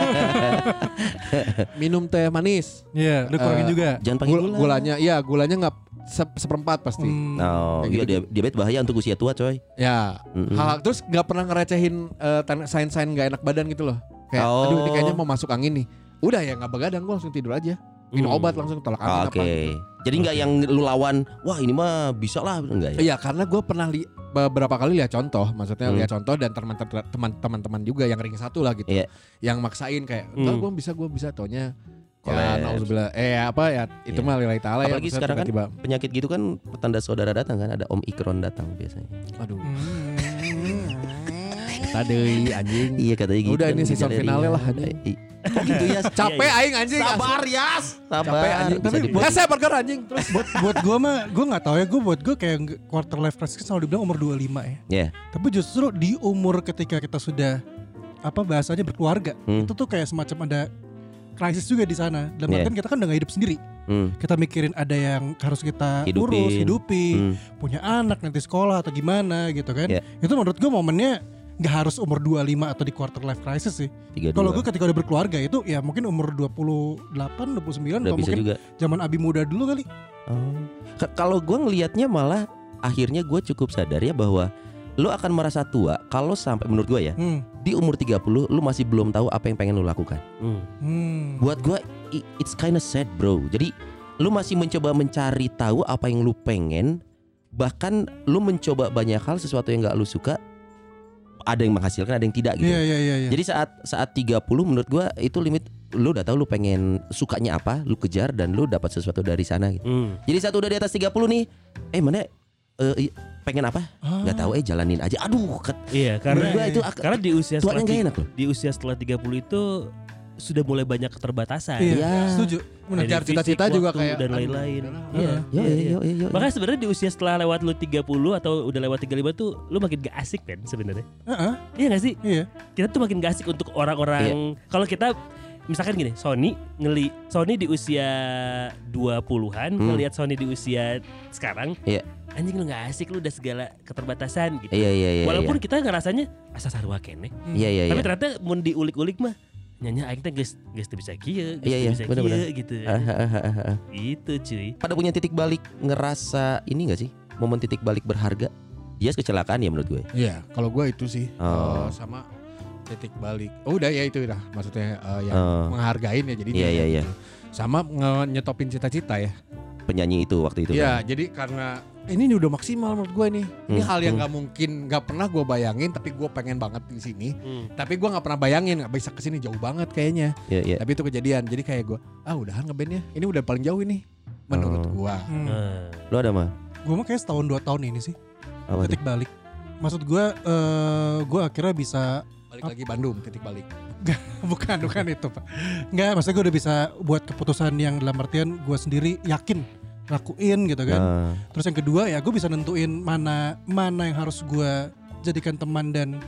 B: Minum teh manis
D: Iya, lu kurangin
B: Eh,
D: juga.
E: Jangan pakai
B: Gula,
E: gula.
B: Gulanya Iya gulanya gak se- seperempat pasti
D: Hmm.
E: No, iya
B: Kayak gitu.
E: dia diabetes bahaya untuk usia tua, coy.
B: Ya
E: Mm-mm.
B: Hal- Terus gak pernah ngerecehin eh, tan- Sain-sain gak enak badan gitu loh Kayak
E: Oh.
B: aduh ini kayaknya mau masuk angin nih Udah ya gak begadang gue langsung tidur aja Minum
C: Hmm.
B: obat langsung tolak
E: Ah, Oke.
B: angin apa
E: Jadi nggak yang lu lawan, wah ini mah bisa lah, enggak ya?
B: Iya karena gue pernah li- beberapa kali lihat contoh, maksudnya
E: Hmm.
B: lihat contoh dan teman- ter- teman- teman-teman juga yang ring satu lah gitu,
E: Iya.
B: yang maksain kayak,
C: Hmm.
B: enggak gue bisa gue bisa tonya
E: Collapse.
B: Ya, nauzubillah. eh apa ya itu
E: Iya.
B: mah lilai taala ya
E: Apalagi
B: maksudnya
E: sekarang kan-
B: tiba-tiba.
E: Penyakit gitu kan petanda saudara datang kan, ada Om Ikron datang biasanya.
B: aduh
D: Hmm.
B: tadei anjing
E: Iya katanya gitu.
B: Udah,
E: kan,
B: ini season
E: gejalanya
B: finalnya
E: ringan.
B: lah, anjing.
E: Eh, kok gitu ya.
B: capek aing anjing
A: Sabar
B: asli.
A: ya.
E: Sabar.
B: capek anjing
E: bisa
B: tapi
E: dibilang.
B: buat saya burger anjing terus
D: buat buat gue mah gue nggak tahu ya gue buat gue kayak nggak- quarter life crisis selalu dibilang umur 25 ya
E: Iya.
D: tapi justru di umur ketika kita sudah apa bahasanya berkeluarga
E: Hmm.
D: itu tuh kayak semacam ada krisis juga di sana dalam
E: Iya.
D: artian kita kan udah gak hidup sendiri
E: Hmm,
D: kita mikirin ada yang harus kita
E: Hidupin.
D: urus hidupin
E: hmm.
D: punya anak nanti sekolah atau gimana gitu kan
E: Iya.
D: itu menurut gue momennya nggak harus umur 25 atau di quarter life crisis sih
E: 32.
D: kalau
B: kan
D: gue ketika udah berkeluarga itu ya mungkin umur
E: udah
D: 28 29 atau
E: bisa
D: mungkin
E: juga.
D: zaman abi muda dulu kali
E: Oh. K- Kalau gue ngelihatnya malah akhirnya gue cukup sadar ya bahwa lo akan merasa tua kalau sampai menurut gue ya
D: hmm.
E: di umur 30 lu masih belum tahu apa yang pengen lu lakukan.
C: Hmm.
D: Hmm.
E: Buat gue i- it's kinda sad bro. Jadi lu masih mencoba mencari tahu apa yang lu pengen bahkan lu mencoba banyak hal sesuatu yang gak lu suka ada yang menghasilkan ada yang tidak gitu.
D: Iya iya iya iya.
E: Jadi saat saat 30 menurut gua itu limit lu udah tahu lu pengen sukanya apa, lu kejar dan lu dapat sesuatu dari sana gitu.
C: Hmm.
E: Jadi saat udah di atas 30 nih, eh mana eh, i- pengen apa?
D: Ah.
E: nggak tahu eh jalanin aja. Aduh, ket,
C: Iya
E: menurut
C: karena
E: gua itu ak-
C: karena di usia setelah
E: tuanya gak
C: di,
E: enak loh.
C: di usia setelah 30 itu sudah mulai banyak keterbatasan.
D: Iya.
E: Iya.
D: Setuju. Benar.
B: Ngejar
C: fisik,
B: cita-cita juga
C: waktu,
B: kayak,
C: dan
B: aduh,
C: lain-lain.
B: udahlah.
E: Yo,
C: Iya. iya,
E: yo,
C: iya.
E: yo, yo, yo.
C: Makanya sebenarnya di usia setelah lewat lu 30 atau udah lewat 35 tuh lu makin gak asik kan sebenarnya.
D: Heeh,
C: Iya gak sih?
D: Iya.
C: Kita tuh makin gak asik untuk
E: Iya.
C: orang-orang kalau kita misalkan gini, Sony ngeli Sony di usia 20-an
E: Hmm.
C: ngelihat Sony di usia sekarang.
E: Iya.
C: Anjing lu gak asik lu udah segala keterbatasan gitu.
E: Iya, iya, iya.
C: Walaupun kita ngerasanya asal sarua kene.
E: iya, iya,
C: Tapi
E: iya.
C: ternyata mau diulik-ulik mah nyanya aing teh geus geus teu bisa kieu, geus
E: Iya,
C: teu
E: iya,
C: bisa
E: bener-bener.
C: kieu gitu. Gitu cuy.
E: Pada punya titik balik ngerasa ini gak sih? Momen titik balik berharga. Dia kecelakaan ya menurut gue.
B: Iya, kalau gue itu sih
E: Oh.
B: eh, sama titik balik. Oh, udah ya itu udah maksudnya eh, yang
E: Oh.
B: menghargain ya jadi.
E: Iya, iya, iya.
B: Sama nge- nyetopin cita-cita ya.
E: Penyanyi itu waktu itu.
B: Iya, jadi karena ini udah maksimal menurut gue nih. Ini
E: Hmm,
B: hal yang
E: hmm.
B: nggak mungkin, nggak pernah gue bayangin, tapi gue pengen banget di sini.
C: Hmm.
B: Tapi gue nggak pernah bayangin, nggak bisa kesini jauh banget kayaknya.
E: Iya, iya.
B: Tapi itu kejadian. Jadi kayak gue, ah udahan ngebandnya. Ini udah paling jauh ini, menurut gue.
D: Hmm.
C: Nah.
E: Lu ada mah?
D: Gue mah kayak setahun dua tahun ini sih.
E: Apa tuh?
D: Titik balik. Maksud gue, eh gue akhirnya bisa
B: Balik lagi Bandung, titik balik.
D: bukan bukan itu pak. Nggak, maksudnya gue udah bisa buat keputusan yang dalam artian gue sendiri yakin lakuin gitu kan.
E: Ah.
D: Terus yang kedua ya gue bisa nentuin mana mana yang harus gue jadikan teman dan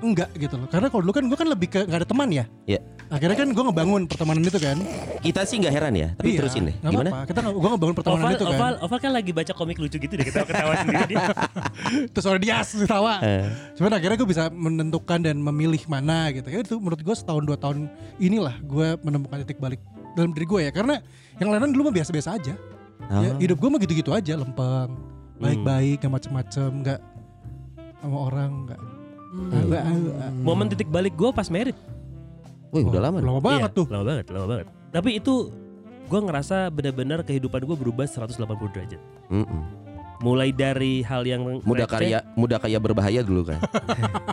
D: enggak gitu loh. Karena kalau dulu kan gue kan lebih ke nggak ada teman ya.
E: Iya.
D: Akhirnya kan gue ngebangun pertemanan itu kan.
E: Kita sih nggak heran ya, tapi
D: Iya,
E: terusin deh.
D: nggak
E: Gimana?
D: Apa-apa. Kita nggak- gue ngebangun pertemanan
C: Oval,
D: itu kan.
C: Oval, Oval kan lagi baca komik lucu gitu deh ketawa-ketawa sendiri dia.
E: Hmm.
D: Terus orang dia ketawa.
E: Eh,
D: Cuman akhirnya gue bisa menentukan dan memilih mana gitu. Ya itu menurut gue setahun dua tahun inilah gue menemukan titik balik dalam diri gue ya. Karena yang lain dulu mah biasa-biasa aja.
E: ah. Hmm.
D: Ya, hidup gue mah gitu-gitu aja, lempeng, baik-baik, gak macem-macem, gak sama orang, gak
C: Momen titik balik gue pas merit.
E: Wih, Hmm. Eh, udah lama. nih.
D: Oh, Lama banget
C: Iya,
D: tuh.
C: Lama banget, lama banget. Tapi itu gue ngerasa benar-benar kehidupan gue berubah 180 derajat.
E: Mm-mm.
C: Mulai dari hal yang
E: Muda
C: receh,
E: karya, muda kaya berbahaya dulu kan.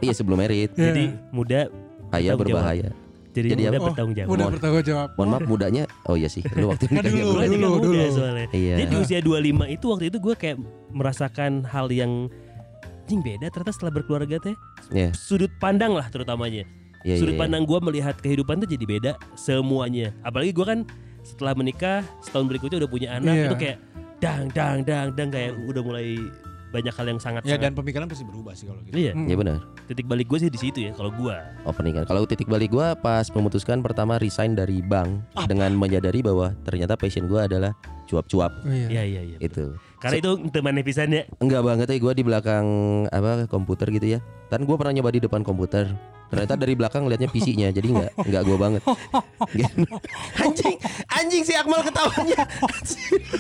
E: iya sebelum merit.
C: Jadi muda
E: kaya
C: Tanggung jawab.
E: berbahaya.
C: jadi,
E: Jadi
D: Oh,
C: muda
E: apa?
C: bertanggung jawab.
D: Udah
E: Mohon.
D: bertanggung jawab.
E: Mohon maaf mudanya. Oh iya sih, lu waktu itu
D: Kan dulu,
E: muda.
C: Mulai dengan
D: dulu,
C: muda
D: dulu.
C: soalnya.
E: Iya.
C: Jadi di usia 25 itu waktu itu gue kayak merasakan hal yang Jing beda ternyata setelah berkeluarga teh
E: Iya,
C: sudut pandang lah terutamanya
E: iya, iya, iya.
C: sudut pandang gue melihat kehidupan tuh jadi beda semuanya apalagi gue kan setelah menikah setahun berikutnya udah punya anak
D: Iya.
C: itu kayak dang dang dang dang kayak udah mulai banyak hal yang sangat
B: Ya dan pemikiran pasti berubah sih kalau gitu.
C: iya
E: Iya benar.
C: titik balik gue sih di situ ya kalau gue
E: Opening kan. Kalau titik balik gua pas memutuskan pertama resign dari bank dengan menyadari bahwa ternyata passion gua adalah cuap-cuap
D: Oh, iya.
C: iya iya iya
E: itu.
C: karena itu teman pisannya
E: Enggak banget ya gue di belakang apa komputer gitu ya. Kan gue pernah nyoba di depan komputer. Ternyata dari belakang liatnya PC-nya jadi enggak enggak gue banget. anjing anjing si Akmal ketawanya.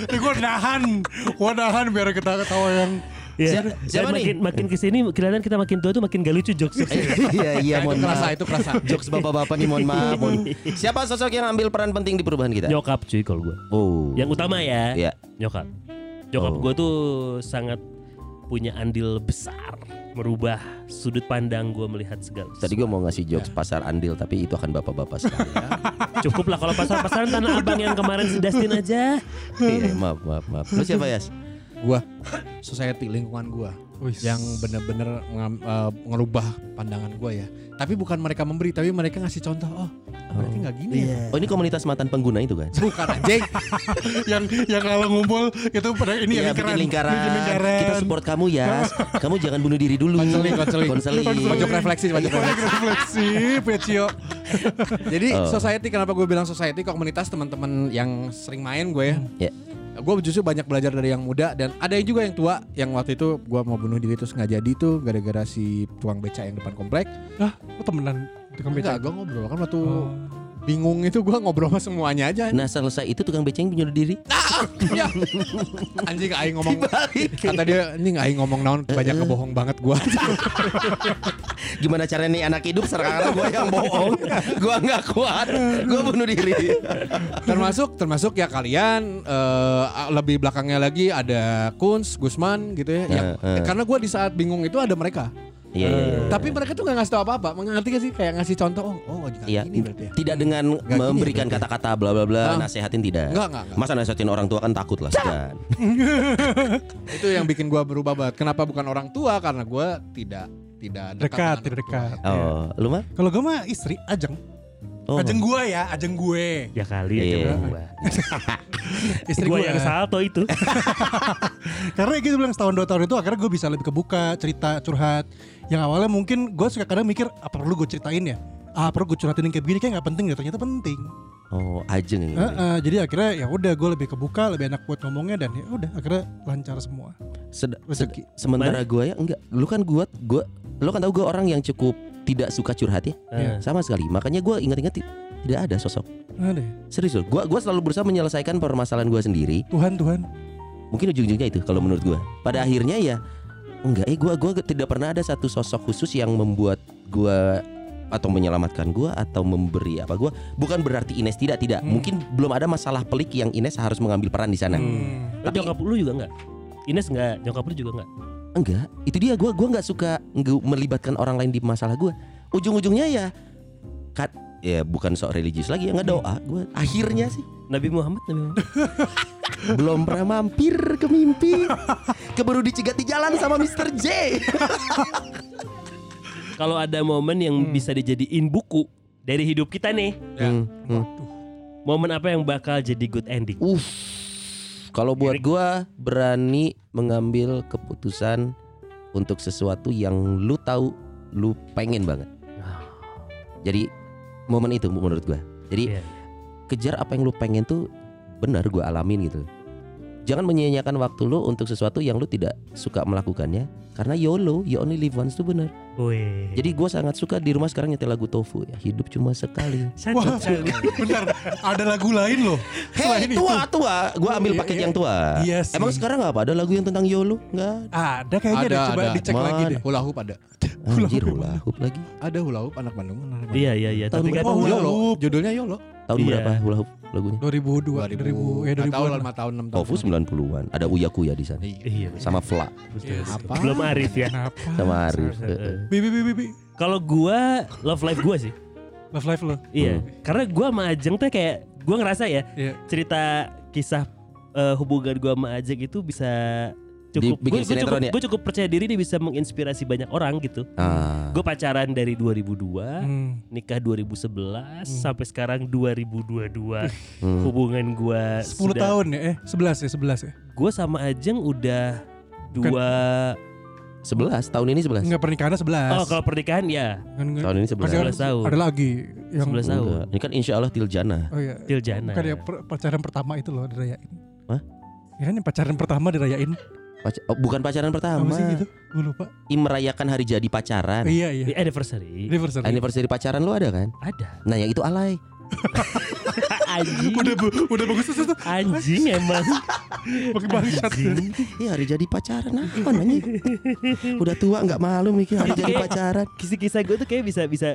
D: Ini gue nahan, gue nahan biar kita ketawa yang
C: Iya.
B: Siapa-
C: Dan
B: siapa nih?
C: makin makin kesini kelihatan kita makin tua tuh makin gak lucu jokes.
E: Iya iya
B: Nah,
E: mohon
B: itu kerasa,
E: maaf.
B: itu kerasa.
E: Jokes bapak-bapak nih mohon maaf. mohon- Siapa sosok yang ambil peran penting di perubahan kita?
C: Nyokap cuy kalau gue.
E: Oh.
C: Yang utama ya.
E: Iya.
C: Nyokap. Nyokap
E: Oh.
C: gue tuh sangat punya andil besar merubah sudut pandang gue melihat segala.
E: Tadi gue mau ngasih jokes pasar andil tapi itu akan bapak-bapak sekali.
C: Cukup lah kalau pasar-pasaran tanah abang yang kemarin si Dustin aja.
E: Iya, maaf maaf maaf. Lu siapa ya?
B: Gua society lingkungan gua yang bener-bener ngam- eh, ngerubah pandangan gua ya. Tapi bukan mereka memberi, tapi mereka ngasih contoh. Oh, berarti nggak gini ya.
E: Oh ini komunitas mantan pengguna itu kan?
B: Bukan anjing.
D: yang yang kalau ngumpul itu pada ini
E: Iya,
D: yang lingkaran,
E: bikin lingkaran.
D: Bikin lingkaran.
E: Kita support kamu ya. kamu jangan bunuh diri dulu.
B: Konseling, konseling.
E: Konseling.
B: Pojok refleksi, pojok
D: Kita
B: refleksi.
D: Iya, refleksi, Pecio.
B: Jadi
E: Oh.
B: society kenapa gue bilang society komunitas teman-teman yang sering main gue ya.
E: Ya.
B: Gue justru banyak belajar dari yang muda dan ada yang juga yang tua yang waktu itu gue mau bunuh diri terus nggak jadi tuh gara-gara si tukang beca yang depan komplek.
D: Ah, lu temenan tukang beca.
B: Enggak, gue ngobrol kan waktu
D: Oh.
B: bingung itu gue ngobrol sama semuanya aja.
E: Nah selesai itu tukang beceng bunuh diri.
B: Ya. anjing aing ngomong kata dia anjing aing ngomong naon banyak kebohong banget gua.
E: Gimana caranya nih anak hidup sekarang gue yang bohong. Gue nggak kuat. Gue bunuh diri.
B: termasuk termasuk ya kalian eh, lebih belakangnya lagi ada Kunz, Gusman gitu ya. yang-
E: eh.
B: Karena gua di saat bingung itu ada mereka.
E: Iya iya. iya.
B: Tapi mereka tuh nggak ngasih tau apa-apa. Mengerti gak sih kayak ngasih contoh oh oh jangan
E: Iya,
B: gini berarti ya.
E: tidak dengan
B: gini
E: memberikan
B: berarti.
E: kata-kata bla bla bla,
B: Ah.
E: nasehatin tidak.
B: Enggak, enggak, enggak.
E: Masa nasehatin orang tua kan takut lah. sudah.
B: Itu yang bikin gua berubah banget. Kenapa bukan orang tua? Karena gua tidak tidak
D: Dekat,
B: dengan
D: tidak
B: orang tua.
D: dekat.
E: Oh, lu mah?
D: Kalau gue mah istri ajeng.
E: Oh.
D: Ajeng gue ya, ajeng gue.
C: Ya kali aja
E: Iya.
C: gua.
D: Istri ya?
C: Gua
D: gue
G: ya.
C: yang salto itu.
D: Karena gitu bilang setahun dua tahun itu akhirnya gue bisa lebih kebuka, cerita, curhat. Yang awalnya mungkin gue suka kadang mikir apa perlu gue ceritain ya? Ah perlu gue curhatin yang kayak begini kayak nggak penting ya ternyata penting.
E: Oh, ajeng ini.
D: Heeh, jadi akhirnya ya udah gue lebih kebuka, lebih enak buat ngomongnya dan ya udah akhirnya lancar semua.
E: Sed- sed-
D: Rezeki.
E: sementara gue ya enggak. Lu kan gua gua lu kan tahu gue orang yang cukup tidak suka curhat ya.
D: Iya.
E: Sama sekali. Makanya gue ingat-ingat ti- tidak ada sosok.
D: Ada ya?
E: Serius loh, gue gua selalu berusaha menyelesaikan permasalahan gue sendiri.
D: Tuhan Tuhan.
E: Mungkin ujung-ujungnya itu kalau menurut gue. Pada akhirnya ya enggak. Eh gue gua tidak pernah ada satu sosok khusus yang membuat gue atau menyelamatkan gue atau memberi apa gue bukan berarti Ines tidak tidak
D: Hmm.
E: mungkin belum ada masalah pelik yang Ines harus mengambil peran di
G: Nah.
E: sana
D: Hmm.
C: Tapi
E: Tapi-
C: nyokap lu juga enggak? Ines enggak, nyokap lu juga enggak.
E: enggak itu dia gue gua nggak suka nge- melibatkan orang lain di masalah gue ujung-ujungnya ya kat ya bukan sok religius lagi ya nggak doa gue akhirnya sih
C: Nabi Muhammad, Nabi Muhammad.
E: belum pernah mampir ke mimpi keburu dicegat di jalan sama Mr. J
C: Kalau ada momen yang bisa dijadiin buku dari hidup kita nih,
E: Hmm, hmm.
C: momen apa yang bakal jadi good ending?
E: Uff. kalau buat gue berani mengambil keputusan untuk sesuatu yang lu tahu lu pengen banget jadi momen itu menurut gue jadi
C: Iya.
E: kejar apa yang lu pengen tuh benar gue alamin gitu jangan menyia-nyiakan waktu lu untuk sesuatu yang lu tidak suka melakukannya karena YOLO you only live once tuh benar
H: Wih.
C: Iya.
E: Jadi gue sangat suka di rumah sekarang nyetel lagu Tofu ya. Hidup cuma sekali.
H: satu
D: Wah, bentar. Ada lagu lain loh.
E: Hei tua tua, gue ambil
D: iya,
E: paket
D: iya.
E: yang tua.
D: Iya sih.
E: Emang sekarang apa ada lagu yang tentang Yolo? Nggak.
D: Ada kayaknya
G: Ada,
D: deh, coba
G: ada.
D: dicek lagi
E: Mana?
D: deh.
G: Hula hoop ada.
E: ada. Anjir hula hoop lagi.
G: Ada hula hoop anak Bandung. anak Bandung.
C: Iya iya iya.
E: Tahun
C: Tapi kan
E: berapa?
D: Oh, hula hoop.
G: Judulnya Yolo.
E: Tahun
C: Iya.
E: berapa hula hoop lagunya?
D: 2002,
G: 2000,
D: 2000, eh
G: nggak
D: 2000.
G: tahu lah, 5 tahun 6 tahun.
E: Tofu 90-an. Ada Uya Kuya di sana.
C: Iya.
E: Sama Fla,
B: Iya.
G: Apa?
H: Belum Arif ya.
D: Kenapa?
E: sama Arif. Eh,
C: Heeh.
D: Bibi, bibi, bibi.
C: Kalau gua love life gua sih.
D: Love life lo.
E: Hmm.
C: Iya. Karena gua sama Ajeng tuh kayak gua ngerasa ya
D: Iya.
C: cerita kisah eh, hubungan gua sama Ajeng itu bisa
E: Dibikin
C: cukup gua, gua cukup
E: sinetron ya?
C: gua cukup percaya diri dia bisa menginspirasi banyak orang gitu.
E: Ah.
C: Gue pacaran dari 2002,
D: Hmm.
C: nikah 2011 sampai sekarang 2022.
E: Hmm.
C: Hubungan gua
D: 10
C: sudah-
D: tahun ya, eh 11 ya, 11 ya.
C: Gue sama Ajeng udah dua
E: 11 tahun ini 11.
D: Enggak pernikahannya 11.
C: Oh kalau pernikahan ya
D: Kan- kan-
E: Tahun ini
D: masih
E: 11.
C: Sebelas tahun.
D: Ada lagi yang
C: 11 tahun
E: Enggak. Ini kan insya Allah til jana.
D: Oh iya.
C: Til jana
D: Bukan yang per- pacaran pertama itu loh dirayain.
E: Hah?
D: Ya kan yang pacaran pertama dirayain.
E: Pac- oh, bukan pacaran pertama.
D: Apa sih gitu? Gue lupa.
E: Ih, merayakan hari jadi pacaran.
D: Iya, iya.
C: Di anniversary
D: Anniversary.
E: Anniversary pacaran lu ada kan?
C: Ada
E: Nah yang itu alay.
C: Anjing
D: Udah bu- udah bagus tuh, tuh, tuh.
C: Anjing emang
D: Pakai bangsat.
C: Anjing
E: Iya hari jadi pacaran apa nanya? Udah tua nggak malu mikir hari jadi
C: Oke.
E: pacaran.
C: Kisah-kisah gue tuh kayak bisa Bisa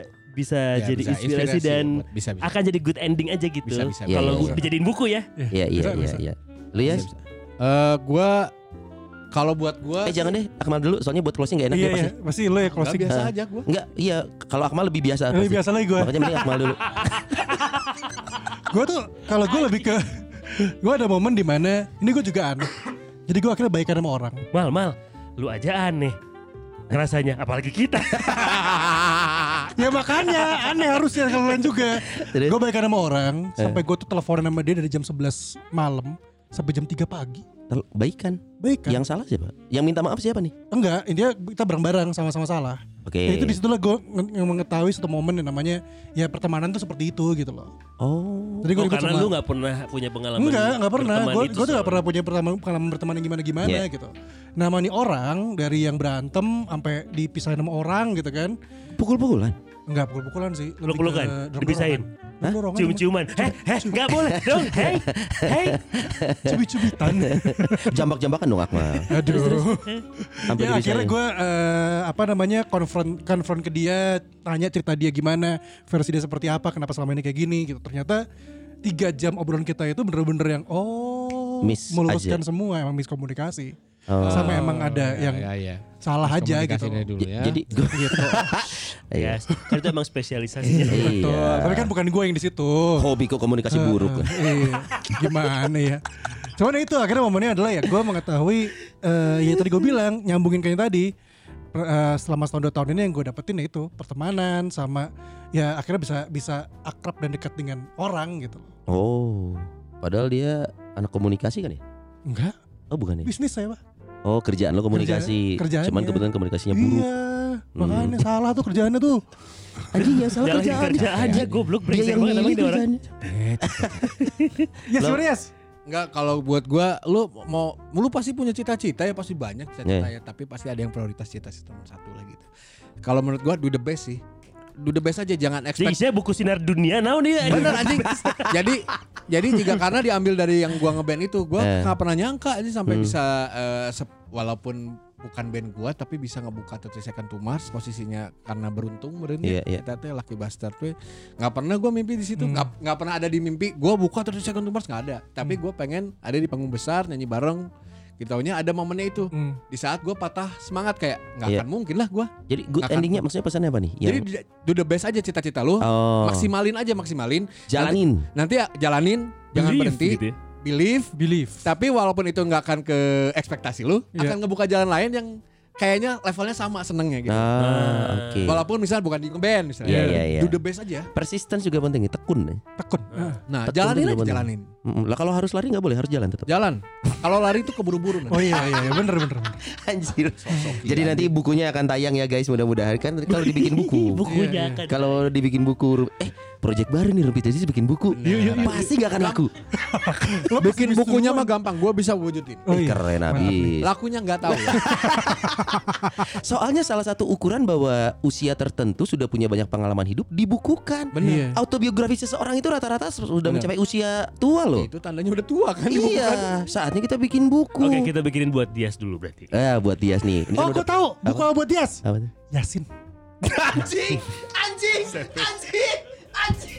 B: Ya,
C: bisa Nah, jadi
B: bisa
C: inspirasi, dan
B: buat- bisa bisa.
C: Akan jadi good ending aja gitu
B: Bisa, bisa,
E: bisa,
C: Kalau
E: bisa.
C: gua- dijadiin buku ya
E: Iya iya
D: Bisa,
E: iya
D: bisa.
E: iya. Lu ya?
B: Bisa, bisa. Eh, gua kalau buat gua
E: Eh jangan deh Akmal dulu soalnya buat closing gak enak
D: Iya,
E: dia
D: iya.
E: pasti.
D: Masih lo ya
B: nggak,
D: closing.
B: biasa
E: Ah.
B: aja gua.
E: Enggak, iya kalau Akmal lebih biasa
D: Ini
E: pasti.
D: biasa lagi gue.
E: Makanya mending Akmal dulu.
D: Gue tuh kalau gue lebih ke gue ada momen di mana ini gue juga aneh. Jadi gue akhirnya baikan sama orang.
C: Mal mal Lu aja aneh Rasanya Apalagi kita
D: Ya makanya aneh harusnya kalau lain juga.
E: Terus?
D: Gue baikan sama orang
C: Eh.
D: sampai gue tuh teleponan sama dia dari jam 11 malam sampai jam 3 pagi.
E: Tel- Baikan.
D: Baikan.
E: kan? Yang salah siapa? Yang minta maaf siapa nih?
D: Enggak, intinya kita bareng-bareng sama-sama salah.
E: Oke.
D: Ya itu disitulah gue mengetahui satu momen yang namanya ya pertemanan tuh seperti itu gitu loh.
E: Oh.
D: Jadi gue
C: Oh, Karena lu gak pernah punya pengalaman
D: Enggak, enggak pernah.
C: berteman
D: Gue
C: itu,
D: gue tuh
C: soalnya.
D: gak pernah punya pertama- pengalaman berteman yang gimana-gimana
E: Iya.
D: gitu. Nama nih orang dari yang berantem sampai dipisahin sama orang gitu kan.
E: Pukul-pukulan.
D: Enggak pukul-pukulan sih. lebih ke
C: Peluk-pelukan?
D: dorong-dorongan.
C: Dipisahin?
D: Dorong-dorongan cuma.
C: Cium-ciuman Heh heh Gak boleh dong Hei Hei
D: Cubit-cubitan.
E: Jambak-jambakan dong Akmal.
D: Aduh.
E: Sampai
D: ya
E: dipisahin.
D: akhirnya gue apa namanya konfront konfront ke dia, tanya cerita dia gimana, versi dia seperti apa, kenapa selama ini kayak gini gitu. Ternyata tiga jam obrolan kita itu bener-bener yang oh
E: Miss
D: meluruskan
E: aja.
D: semua emang miskomunikasi
E: Oh. iya,
D: sama emang ada yang
B: ya, ya.
D: salah aja gitu.
B: Komunikasinya
D: loh.
B: dulu
E: J-
B: ya.
E: Jadi gue Iya.
C: Ya Kan itu emang spesialisasinya
D: Betul. Tapi kan bukan gue yang di situ.
E: hobi kok komunikasi buruk.
D: Iya. Gimana ya? Cuman itu akhirnya momennya adalah ya gue mengetahui eh, ya tadi gue bilang nyambungin kayak tadi per- eh, selama setahun dua tahun ini yang gue dapetin ya itu pertemanan sama ya akhirnya bisa bisa akrab dan dekat dengan orang gitu.
E: Oh. Padahal dia anak komunikasi kan ya?
D: Enggak,
E: Oh bukan ya?
D: bisnis saya pak.
E: Oh kerjaan lo komunikasi.
D: Kerja- kerjaannya.
E: Cuman kebetulan komunikasinya Ya, buruk. Hmm.
D: Iya, makanya salah tuh kerjaannya tuh.
E: Anjing yang salah
C: Jalanin kerjaan aja Goblok
E: Dia
C: brengsek
E: yang kan.
C: banget emang
E: milih
C: ini orang
E: kerjaannya.
D: Ya yes, sebenarnya yes.
B: Enggak kalau buat gua lu mau lu pasti punya cita-cita ya pasti banyak cita-cita ya tapi pasti ada yang prioritas cita-cita nomor satu lah gitu. Kalau menurut gua do the best sih. Do the best aja jangan
C: Jadi
B: expect
C: saya buku sinar dunia naon dia
B: Bener anjing. jadi jadi jika karena diambil dari yang gua ngeband itu, gua
E: Eh.
B: nggak pernah nyangka ini sampai
E: Hmm.
B: bisa eh, se- walaupun bukan band gua tapi bisa ngebuka 30 Second to Mars posisinya karena beruntung meren
E: Iya, Hmm. iya.
B: Eta teh Lucky Bastard tuh nggak pernah gua mimpi di situ nggak nggak pernah ada di mimpi gua buka 30 Second to Mars nggak ada
E: Hmm.
B: tapi gua pengen ada di panggung besar nyanyi bareng kita taunya ada momennya itu
D: Hmm.
B: di saat gua patah semangat kayak nggak
E: Iya.
B: akan mungkin lah gua
E: Jadi good
B: Akan-
E: endingnya maksudnya pesannya apa nih?
B: jadi di- do the best aja cita-cita lu
E: oh,
B: maksimalin aja maksimalin
E: jalanin.
B: nanti ya, jalanin jangan
C: Believe
B: berhenti Iya,
C: gitu ya.
B: believe
D: Believe.
B: tapi walaupun itu nggak akan ke ekspektasi lu
D: Iya.
B: akan ngebuka jalan lain yang kayaknya levelnya sama senengnya gitu
E: Ah, oke.
B: walaupun misalnya bukan di band misalnya
E: Iya, iya, iya.
B: do the best aja
E: Persistence juga penting ya, tekun ya.
D: Tekun. Ah.
B: nah
E: Tekun
B: jalanin
E: tuh
B: aja
E: bener.
B: jalanin
E: Mm-mm. Lah kalau harus lari nggak boleh, harus jalan tetap.
B: Jalan. Kalau lari itu keburu-buru.
D: Oh iya iya iya, bener bener. bener.
E: Anjir. Jadi nanti bukunya akan tayang ya guys, mudah-mudahan kan kalau dibikin buku.
C: Bukunya akan
E: Kalau dibikin buku, eh project baru nih Rumpit Aziz bikin buku. Pasti nggak akan laku.
B: Bikin bukunya mah gampang, gua bisa wujudin.
D: Oh
E: Eh,
D: iya.
E: Keren abis.
B: Lakunya nggak tahu.
E: Soalnya salah satu ukuran bahwa usia tertentu sudah punya banyak pengalaman hidup dibukukan.
D: Bener. Iya.
E: Autobiografi seseorang itu rata-rata sudah mencapai usia tua loh.
B: itu tandanya udah tua kan
E: Iya, saatnya kita bikin buku.
C: Oke, kita bikinin buat Dias dulu berarti.
E: Eh buat Dias nih. Ini kan
D: Oh
E: udah-
D: gue tahu buku apa buat Dias?
E: Apa tuh?
D: Yasin.
A: Anjing, anjing, anjing, anjing.